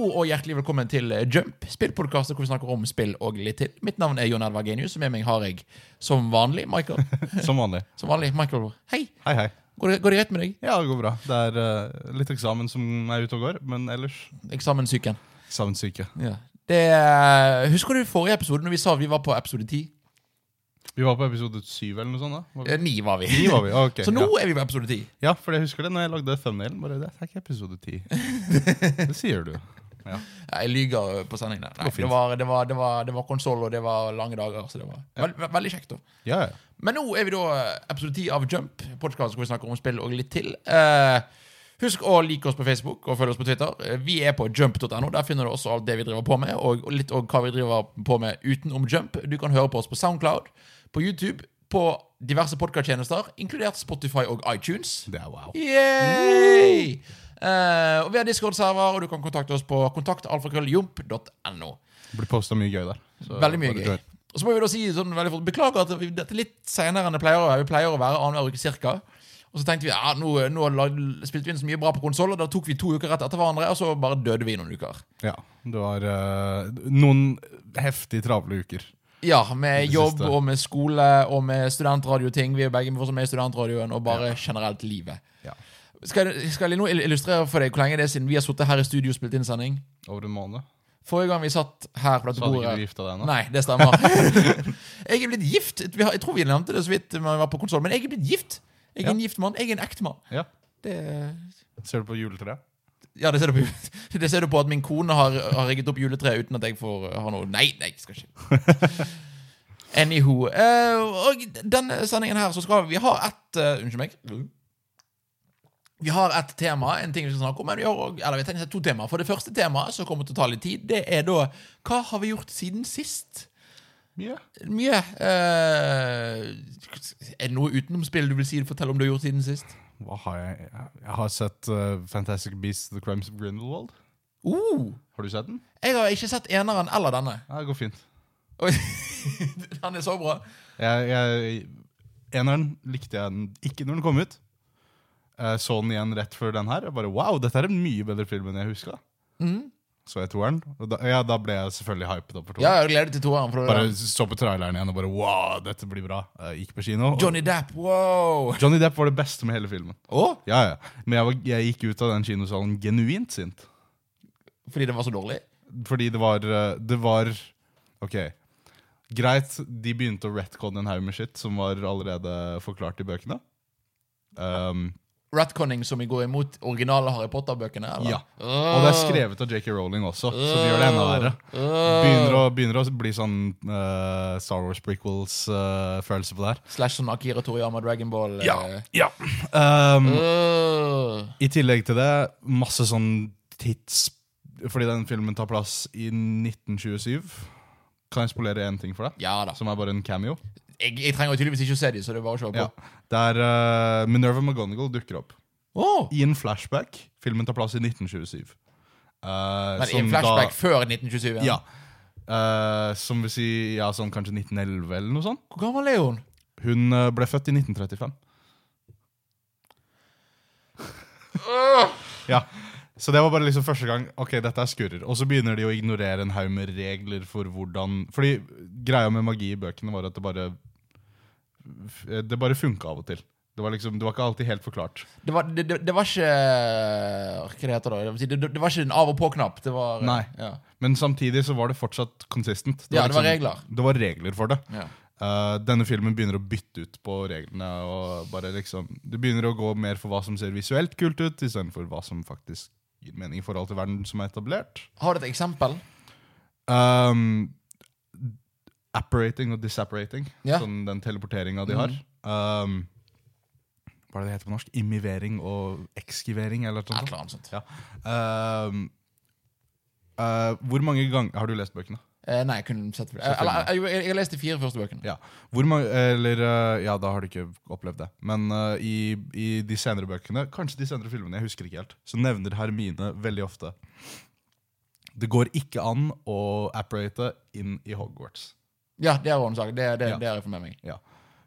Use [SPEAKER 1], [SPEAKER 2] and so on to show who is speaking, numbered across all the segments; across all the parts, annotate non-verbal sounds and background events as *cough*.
[SPEAKER 1] og hjertelig velkommen til eh, Jump, spillpodkastet hvor vi snakker om spill og litt til. Mitt navn er Jon Edvard Genius, og med meg har jeg som vanlig
[SPEAKER 2] *laughs*
[SPEAKER 1] Michael.
[SPEAKER 2] Som vanlig.
[SPEAKER 1] Som vanlig, Michael, hei!
[SPEAKER 2] Hei, hei.
[SPEAKER 1] Går det, går det greit med deg?
[SPEAKER 2] Ja, det går bra. Det er eh, litt eksamen som er ute og går, men ellers
[SPEAKER 1] Eksamenssyken.
[SPEAKER 2] eksamenssyke.
[SPEAKER 1] Ja. Det, er- husker du forrige episode, når vi sa vi var på episode ti?
[SPEAKER 2] Vi var på episode syv eller noe sånt. da? Var vi?
[SPEAKER 1] Eh, Ni var vi.
[SPEAKER 2] Ni var vi, Ah, ok.
[SPEAKER 1] Så nå er vi på episode ti.
[SPEAKER 2] Ja, ja for jeg husker det når jeg lagde thumbnailen. Bare, det er ikke episode
[SPEAKER 1] *laughs*
[SPEAKER 2] ti. Det sier du. Ja,
[SPEAKER 1] Ja, Jeg lyver på sending. der. Nei,
[SPEAKER 2] går fint.
[SPEAKER 1] det var, det var, det var, det var konsoll, og det var lange dager. Så det var veld, ve- veldig kjekt. da
[SPEAKER 2] ja. ja.
[SPEAKER 1] Men nå er vi da eh, episode 10 av Jump, podkasten hvor vi snakker om spill og litt til. Eh, husk å like oss på Facebook og følge oss på Twitter. Eh, Vi er på jump.no. Der finner du også alt det vi driver på med, og litt om hva vi driver på med utenom Jump. Du kan høre på oss på Soundcloud, på YouTube, på diverse podkasttjenester, inkludert Spotify og iTunes.
[SPEAKER 2] Det er wow.
[SPEAKER 1] Yay! Eh, og vi har Discord-server, og du kan kontakte oss på kontaktalfakrølljump.no.
[SPEAKER 2] Det blir posta mye gøy der. så
[SPEAKER 1] Veldig mye
[SPEAKER 2] bare
[SPEAKER 1] gøy.
[SPEAKER 2] join.
[SPEAKER 1] Og så må vi da si sånn veldig fort Beklager at vi, dette er litt senere enn det pleier å være. Vi pleier å være annenhver uke cirka. Og så tenkte vi ja, nå, nå lag- spilte vi inn så mye bra på konsoller. Da tok vi to uker rett etter hverandre, og så bare døde vi i noen uker.
[SPEAKER 2] Ja. Du har eh, noen heftig travle uker.
[SPEAKER 1] Ja, med
[SPEAKER 2] Det
[SPEAKER 1] jobb
[SPEAKER 2] siste.
[SPEAKER 1] og med skole og med studentradioting. Vi er begge fortsatt med i studentradioen, og bare generelt livet.
[SPEAKER 2] Ja.
[SPEAKER 1] Skal, jeg- skal jeg nå ill- illustrere for deg hvor lenge det er siden vi har sittet her i studio og spilt inn sending?
[SPEAKER 2] Over en måned.
[SPEAKER 1] Forrige gang vi satt her på dette
[SPEAKER 2] Så hadde ikke
[SPEAKER 1] bordet
[SPEAKER 2] du gifta deg ennå.
[SPEAKER 1] Nei, det stemmer. *laughs* jeg er blitt gift. Vi har- Jeg tror vi nevnte det så vidt når vi var på konsol, men jeg er blitt gift. Jeg er en gift mann. Jeg er en ekte mann.
[SPEAKER 2] Ja.
[SPEAKER 1] Det,
[SPEAKER 2] Ser du på juletreet?
[SPEAKER 1] ja, det ser, du på, *laughs* det ser du på at min kone har, har rigget opp juletreet uten at jeg får ha noe Nei, nei, skal ikke. Anywho. eh, og denne sendingen her så skal vi ha et eh, Unnskyld meg. Vi har et tema, en ting vi skal snakke om. Men vi har, også- eller vi tenker to temaer. For det første temaet, som kommer til å ta litt tid, det er da Hva har vi gjort siden sist?
[SPEAKER 2] Mye.
[SPEAKER 1] Mye. eh, er det noe utenomspill du vil si fortelle om du har gjort siden sist?
[SPEAKER 2] Hva har jeg Jeg har sett eh, Fantastic Beasts The Crimes of Grindelwald.
[SPEAKER 1] Uh,
[SPEAKER 2] Har du sett den?
[SPEAKER 1] jeg har ikke sett eneren eller denne.
[SPEAKER 2] Ja, det går fint.
[SPEAKER 1] Oi, *laughs* Den er så bra.
[SPEAKER 2] Jeg, jeg, eneren likte jeg den ikke når den kom ut. Jeg så den igjen rett før den her. Jeg bare, wow, dette er en mye bedre film enn jeg huska.
[SPEAKER 1] Mhm.
[SPEAKER 2] Så jeg toeren. Og da, ja, da ble jeg selvfølgelig hypet opp
[SPEAKER 1] Ja,
[SPEAKER 2] for toeren.
[SPEAKER 1] jeg gleder meg til toeren. for det-
[SPEAKER 2] Bare så på traileren igjen og bare wow, dette blir bra. Jeg gikk på kino. og-
[SPEAKER 1] Johnny Depp, wow!
[SPEAKER 2] Johnny Depp var det beste med hele filmen.
[SPEAKER 1] Å?
[SPEAKER 2] Ja, ja. Men jeg, var, jeg gikk ut av den kinosalen genuint sint.
[SPEAKER 1] Fordi den var så dårlig?
[SPEAKER 2] Fordi det var eh, Det var Ok. Greit, de begynte å retconne en haug med shit som var allerede forklart i bøkene. Um,
[SPEAKER 1] Ratconning som i går imot originale Harry Potter-bøkene? eller?
[SPEAKER 2] ja. Og det er skrevet av J.K. Rowling også, så det gjør det enda verre.
[SPEAKER 1] Øh.
[SPEAKER 2] Begynner å, begynner å bli sånn eh, Star Wars prequels-følelse på det her.
[SPEAKER 1] Slash sånn Akira Toriyama Dragon Ball. eh.
[SPEAKER 2] ja. Um,
[SPEAKER 1] Øh.
[SPEAKER 2] I tillegg til det, masse sånn tids... Fordi den filmen tar plass i 1927. Kan jeg spolere én ting for deg?
[SPEAKER 1] Ja da.
[SPEAKER 2] Som er bare en cameo?
[SPEAKER 1] Jeg, jeg trenger jo tydeligvis ikke å se dem, så det er bare å se på.
[SPEAKER 2] Ja. Der eh, Minerva McGonagall dukker opp.
[SPEAKER 1] Åh,
[SPEAKER 2] I en flashback. Filmen tar plass i 1927. Eh,
[SPEAKER 1] Men i
[SPEAKER 2] som
[SPEAKER 1] en
[SPEAKER 2] da-
[SPEAKER 1] flashback før 1927?
[SPEAKER 2] Ja. Eh, som vil si ja, sånn kanskje 1911 eller noe sånt.
[SPEAKER 1] Hvor gammel er hun?
[SPEAKER 2] Hun eh, ble født i 1935. ja. Så det var bare liksom første gang. Ok, dette er skurrer. Og så begynner de å ignorere en haug med regler for hvordan Fordi greia med magi i bøkene var at det bare Det bare funka av og til. Det var liksom, det var ikke alltid helt forklart.
[SPEAKER 1] Det var, det, det, det var ikke eh, Hva det heter det? Det vil si, Det, det var ikke en av-og-på-knapp. Det var eh,
[SPEAKER 2] Nei.
[SPEAKER 1] Ja.
[SPEAKER 2] Men samtidig så var det fortsatt consistent.
[SPEAKER 1] Ja, det var regler.
[SPEAKER 2] Det var regler for det.
[SPEAKER 1] Ja.
[SPEAKER 2] Eh, denne filmen begynner å bytte ut på reglene. Og bare liksom, Det begynner å gå mer for hva som ser visuelt kult ut, istedenfor hva som faktisk gir mening i forhold til verden som er etablert.
[SPEAKER 1] Har du et eksempel?
[SPEAKER 2] Um, apparating og disapparating,
[SPEAKER 1] Ja.
[SPEAKER 2] sånn den teleporteringa de har. Um, hva er det det heter på norsk? Immivering og ekskivering? Eller
[SPEAKER 1] Et
[SPEAKER 2] noe sånt.
[SPEAKER 1] eller annet sånt.
[SPEAKER 2] Ja. Um, eh, hvor mange ganger Har du lest bøkene?
[SPEAKER 1] Eh, nei, jeg kunne sett det. Eh, Eller, eh, jo, jeg, jeg leste de fire første bøkene.
[SPEAKER 2] Ja. Hvor mange, eller, eh, ja, da har du ikke opplevd det. Men eh, i, i de senere bøkene, kanskje de senere filmene, jeg husker ikke helt, så nevner Hermine veldig ofte Det går ikke an å apparate inn i Hogwarts.
[SPEAKER 1] Ja, det har hun sagt. Det, det,
[SPEAKER 2] Ja.
[SPEAKER 1] det har jeg fått med meg.
[SPEAKER 2] Ja.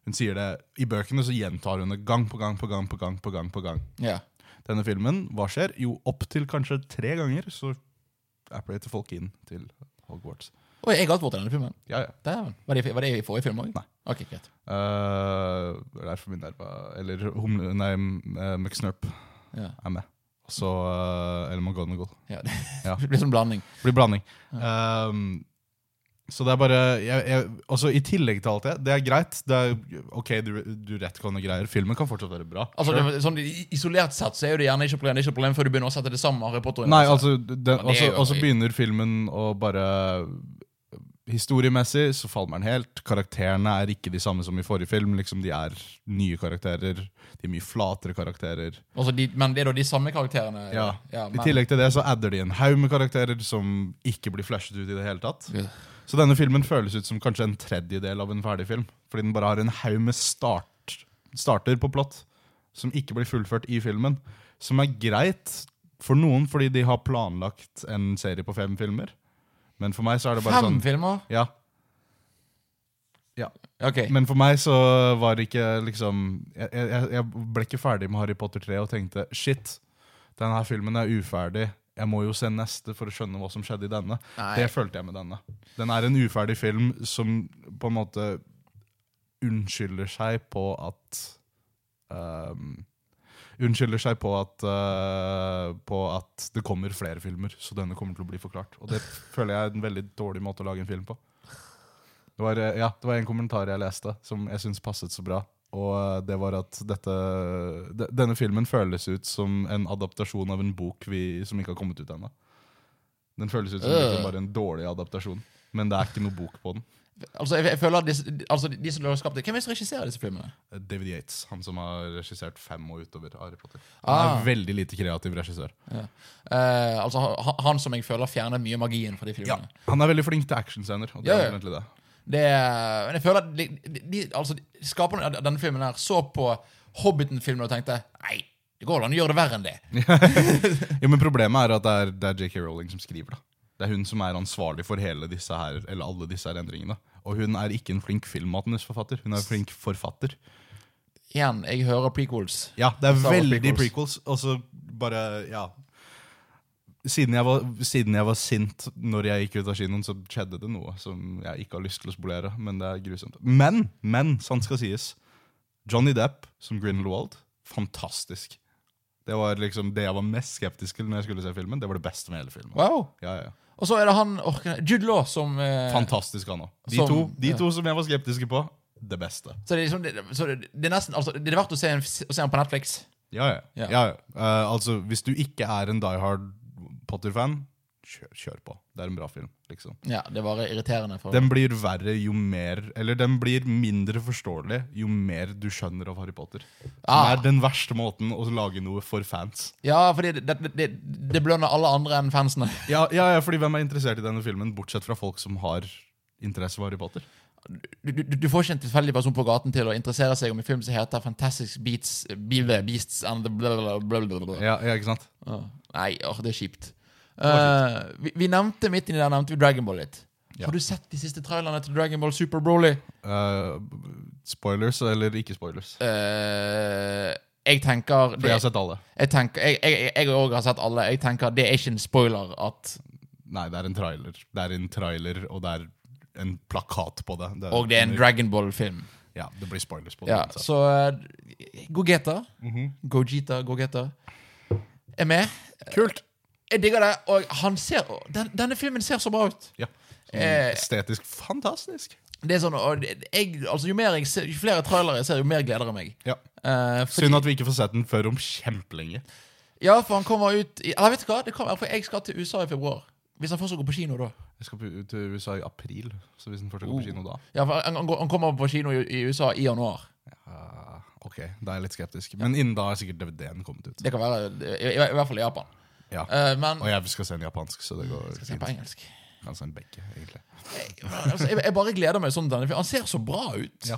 [SPEAKER 2] Hun sier det I bøkene så gjentar hun det gang på gang på gang på gang. på gang på gang.
[SPEAKER 1] Ja.
[SPEAKER 2] Denne filmen, hva skjer? Jo, opptil kanskje tre ganger så apparate folk inn til Hogwarts.
[SPEAKER 1] Og jeg har gått bort til denne filmen.
[SPEAKER 2] Ja, ja.
[SPEAKER 1] Dæven. Var, det- var det i forrige film òg?
[SPEAKER 2] Nei.
[SPEAKER 1] Ok, greit.
[SPEAKER 2] Eh, det er derfor Minerva Eller humle, nei, eh, McSnurp
[SPEAKER 1] Ja.
[SPEAKER 2] er med. Så eh, Eller McGonagall.
[SPEAKER 1] Ja, det
[SPEAKER 2] Ja.
[SPEAKER 1] blir sånn blanding.
[SPEAKER 2] Det blir blanding. Ehm, så det er bare jeg, jeg, også I tillegg til alt det, det er greit. Det er, ok, du, du retconner greier. Filmen kan fortsatt være bra.
[SPEAKER 1] Altså,
[SPEAKER 2] Sure.
[SPEAKER 1] det, sånn, i- Isolert sett så er jo det gjerne ikke et problem, det er ikke et problem før du begynner å sette det sammen med Harry Potter.
[SPEAKER 2] Nei, altså, den,
[SPEAKER 1] Men det er
[SPEAKER 2] også,
[SPEAKER 1] jo-
[SPEAKER 2] også begynner filmen å bare Historiemessig så falmer den helt. Karakterene er ikke de samme som i forrige film. Liksom, de er nye karakterer. De er mye flatere karakterer.
[SPEAKER 1] Altså, de, men det er da de samme karakterene?
[SPEAKER 2] Ja.
[SPEAKER 1] men,
[SPEAKER 2] I tillegg til det så adder de en haug med karakterer som ikke blir flashet ut i det hele tatt.
[SPEAKER 1] Ja.
[SPEAKER 2] Så denne filmen føles ut som kanskje en tredjedel av en ferdig film. Fordi den bare har en haug med start, starter på plott som ikke blir fullført i filmen. Som er greit for noen fordi de har planlagt en serie på fem filmer. Men for meg så er det bare
[SPEAKER 1] Fem
[SPEAKER 2] sånn
[SPEAKER 1] filmer?
[SPEAKER 2] ja. ja.
[SPEAKER 1] Ok.
[SPEAKER 2] Men for meg så var det ikke liksom Jeg, jeg, jeg ble ikke ferdig med Harry Potter 3 og tenkte shit, denne her filmen er uferdig. Jeg må jo se neste for å skjønne hva som skjedde i denne.
[SPEAKER 1] Nei.
[SPEAKER 2] Det følte jeg med denne. Den er en uferdig film som på en måte unnskylder seg på at ehm, Unnskylder seg på at eh, På at det kommer flere filmer, så denne kommer til å bli forklart. Og det føler jeg er en veldig dårlig måte å lage en film på. Det var, eh, ja, det var en kommentar jeg leste som jeg syns passet så bra. Og eh, det var at dette, de, denne filmen føles ut som en adaptasjon av en bok vi, som ikke har kommet ut ennå. Den føles ut som
[SPEAKER 1] Øh.
[SPEAKER 2] liksom bare en dårlig adaptasjon, men det er ikke noe bok på den.
[SPEAKER 1] Altså, jeg, jeg føler at disse, altså, de som har skapt det Hvem er det som regisserer disse filmene?
[SPEAKER 2] Eh, David Yates, han som har regissert fem og utover Harry Potter. Han er
[SPEAKER 1] Ah.
[SPEAKER 2] en veldig lite kreativ regissør.
[SPEAKER 1] Eh, altså, han, han som jeg føler fjerner mye av magien fra de filmene.
[SPEAKER 2] Han er veldig flink til actionscener. og det
[SPEAKER 1] Ja,
[SPEAKER 2] er
[SPEAKER 1] ja.
[SPEAKER 2] egentlig det.
[SPEAKER 1] Det er, men jeg føler at de, de, de, altså, de- skaperne av denne filmen her så på Hobbiten-filmen og tenkte Nei, det går vel an å gjøre det verre enn det.
[SPEAKER 2] Jo, men Problemet er at det er, det er J.K. Rowling som skriver. da. Det er hun som er ansvarlig for hele disse her, eller alle disse her endringene. Og hun er ikke en flink filmmanusforfatter. Hun er en flink forfatter.
[SPEAKER 1] Igjen, jeg hører prequels.
[SPEAKER 2] Ja, det er
[SPEAKER 1] Star Wars
[SPEAKER 2] veldig prequels. Og så bare, ja siden jeg, var, siden jeg var sint når jeg gikk ut av kinoen, så skjedde det noe som jeg ikke har lyst til å spolere. Men det er grusomt. Men, men, sant skal sies. Johnny Depp som Grindelwald, fantastisk. Det var liksom det jeg var mest skeptisk til når jeg skulle se filmen. Det var det beste med hele filmen.
[SPEAKER 1] Wow.
[SPEAKER 2] Ja, ja, ja.
[SPEAKER 1] Og så er det han orker, Jude Law som eh,
[SPEAKER 2] Fantastisk, han òg. De,
[SPEAKER 1] Som-
[SPEAKER 2] to- de
[SPEAKER 1] ja.
[SPEAKER 2] to som jeg var skeptiske på, det beste.
[SPEAKER 1] Så det er, liksom, det, så det, det er nesten altså, Det er verdt å se, en, å se han på Netflix.
[SPEAKER 2] Ja, ja.
[SPEAKER 1] Ja.
[SPEAKER 2] ja. ja, Eh, altså, hvis du ikke er en Die Hard Potter-fan, kjør, kjør på. Det er en bra film. liksom.
[SPEAKER 1] Ja, Det var irriterende. For,
[SPEAKER 2] Den blir verre jo mer Eller den blir mindre forståelig jo mer du skjønner av Harry Potter. Som
[SPEAKER 1] Ah.
[SPEAKER 2] er den verste måten å lage noe for fans.
[SPEAKER 1] ja, fordi det, det, det, det blønner alle andre enn fansene.
[SPEAKER 2] Ja, ja, ja, fordi hvem er interessert i denne filmen, bortsett fra folk som har interesse for Harry Potter?
[SPEAKER 1] Du, du, du får ikke en tilfeldig person på gaten til å interessere seg om en film som heter Fantastic Beats, Be the Beasts and the blablabla. blablabla.
[SPEAKER 2] Ja, ja ikke sant?
[SPEAKER 1] Åh, Nei, åh, det er kjipt. Eh, vi, vi nevnte midt inni der nevnte vi Dragon Ball litt.
[SPEAKER 2] Ja.
[SPEAKER 1] Har du sett de siste trailerne til Dragon Ball Super Broly?
[SPEAKER 2] Eh, spoilers eller ikke spoilers?
[SPEAKER 1] Eh, jeg tenker
[SPEAKER 2] For jeg har sett alle.
[SPEAKER 1] Jeg tenker, jeg, jeg, jeg også har sett alle. Jeg tenker Det er ikke en spoiler at
[SPEAKER 2] Nei, det er en trailer. Det er en trailer, og det er en plakat på det. det
[SPEAKER 1] Og det er en Dragon Ball-film.
[SPEAKER 2] Ja, det blir spoilers på det.
[SPEAKER 1] Ja,
[SPEAKER 2] så.
[SPEAKER 1] så eh, Gogeta.
[SPEAKER 2] Mhm.
[SPEAKER 1] Gogeta, Gogeta er med.
[SPEAKER 2] Kult!
[SPEAKER 1] Jeg digger det. Og han ser den, Denne filmen ser så bra ut.
[SPEAKER 2] Ja. Sånn
[SPEAKER 1] Eh.
[SPEAKER 2] Estetisk fantastisk.
[SPEAKER 1] Det er sånn og det- jeg, altså, jo, mer jeg ser, jo flere trailere jeg ser, jo mer gleder jeg meg.
[SPEAKER 2] Ja.
[SPEAKER 1] Eh, fordi,
[SPEAKER 2] Synd at vi ikke får sett den før om kjempelenge.
[SPEAKER 1] ja, for han kommer ut i, Eller vet du hva? Det kommer, for jeg skal til USA i februar. Hvis han fortsatt går på kino da.
[SPEAKER 2] Jeg skal på- til USA i april, så hvis den fortsatt
[SPEAKER 1] Oh.
[SPEAKER 2] går på kino da
[SPEAKER 1] Ja, for han, han går- han kommer på kino i, i USA i januar.
[SPEAKER 2] ja, Ok, da er jeg litt skeptisk. Men innen da er sikkert DVD-en kommet ut.
[SPEAKER 1] Det kan være i, i, i hvert fall i Japan.
[SPEAKER 2] Ja.
[SPEAKER 1] Eh, men
[SPEAKER 2] Og jeg skal se den japansk, så det går
[SPEAKER 1] Skal se
[SPEAKER 2] fint.
[SPEAKER 1] på engelsk.
[SPEAKER 2] Kan se den begge, egentlig.
[SPEAKER 1] altså, jeg, jeg bare gleder meg sånn til denne filmen. Han ser så bra ut.
[SPEAKER 2] Ja.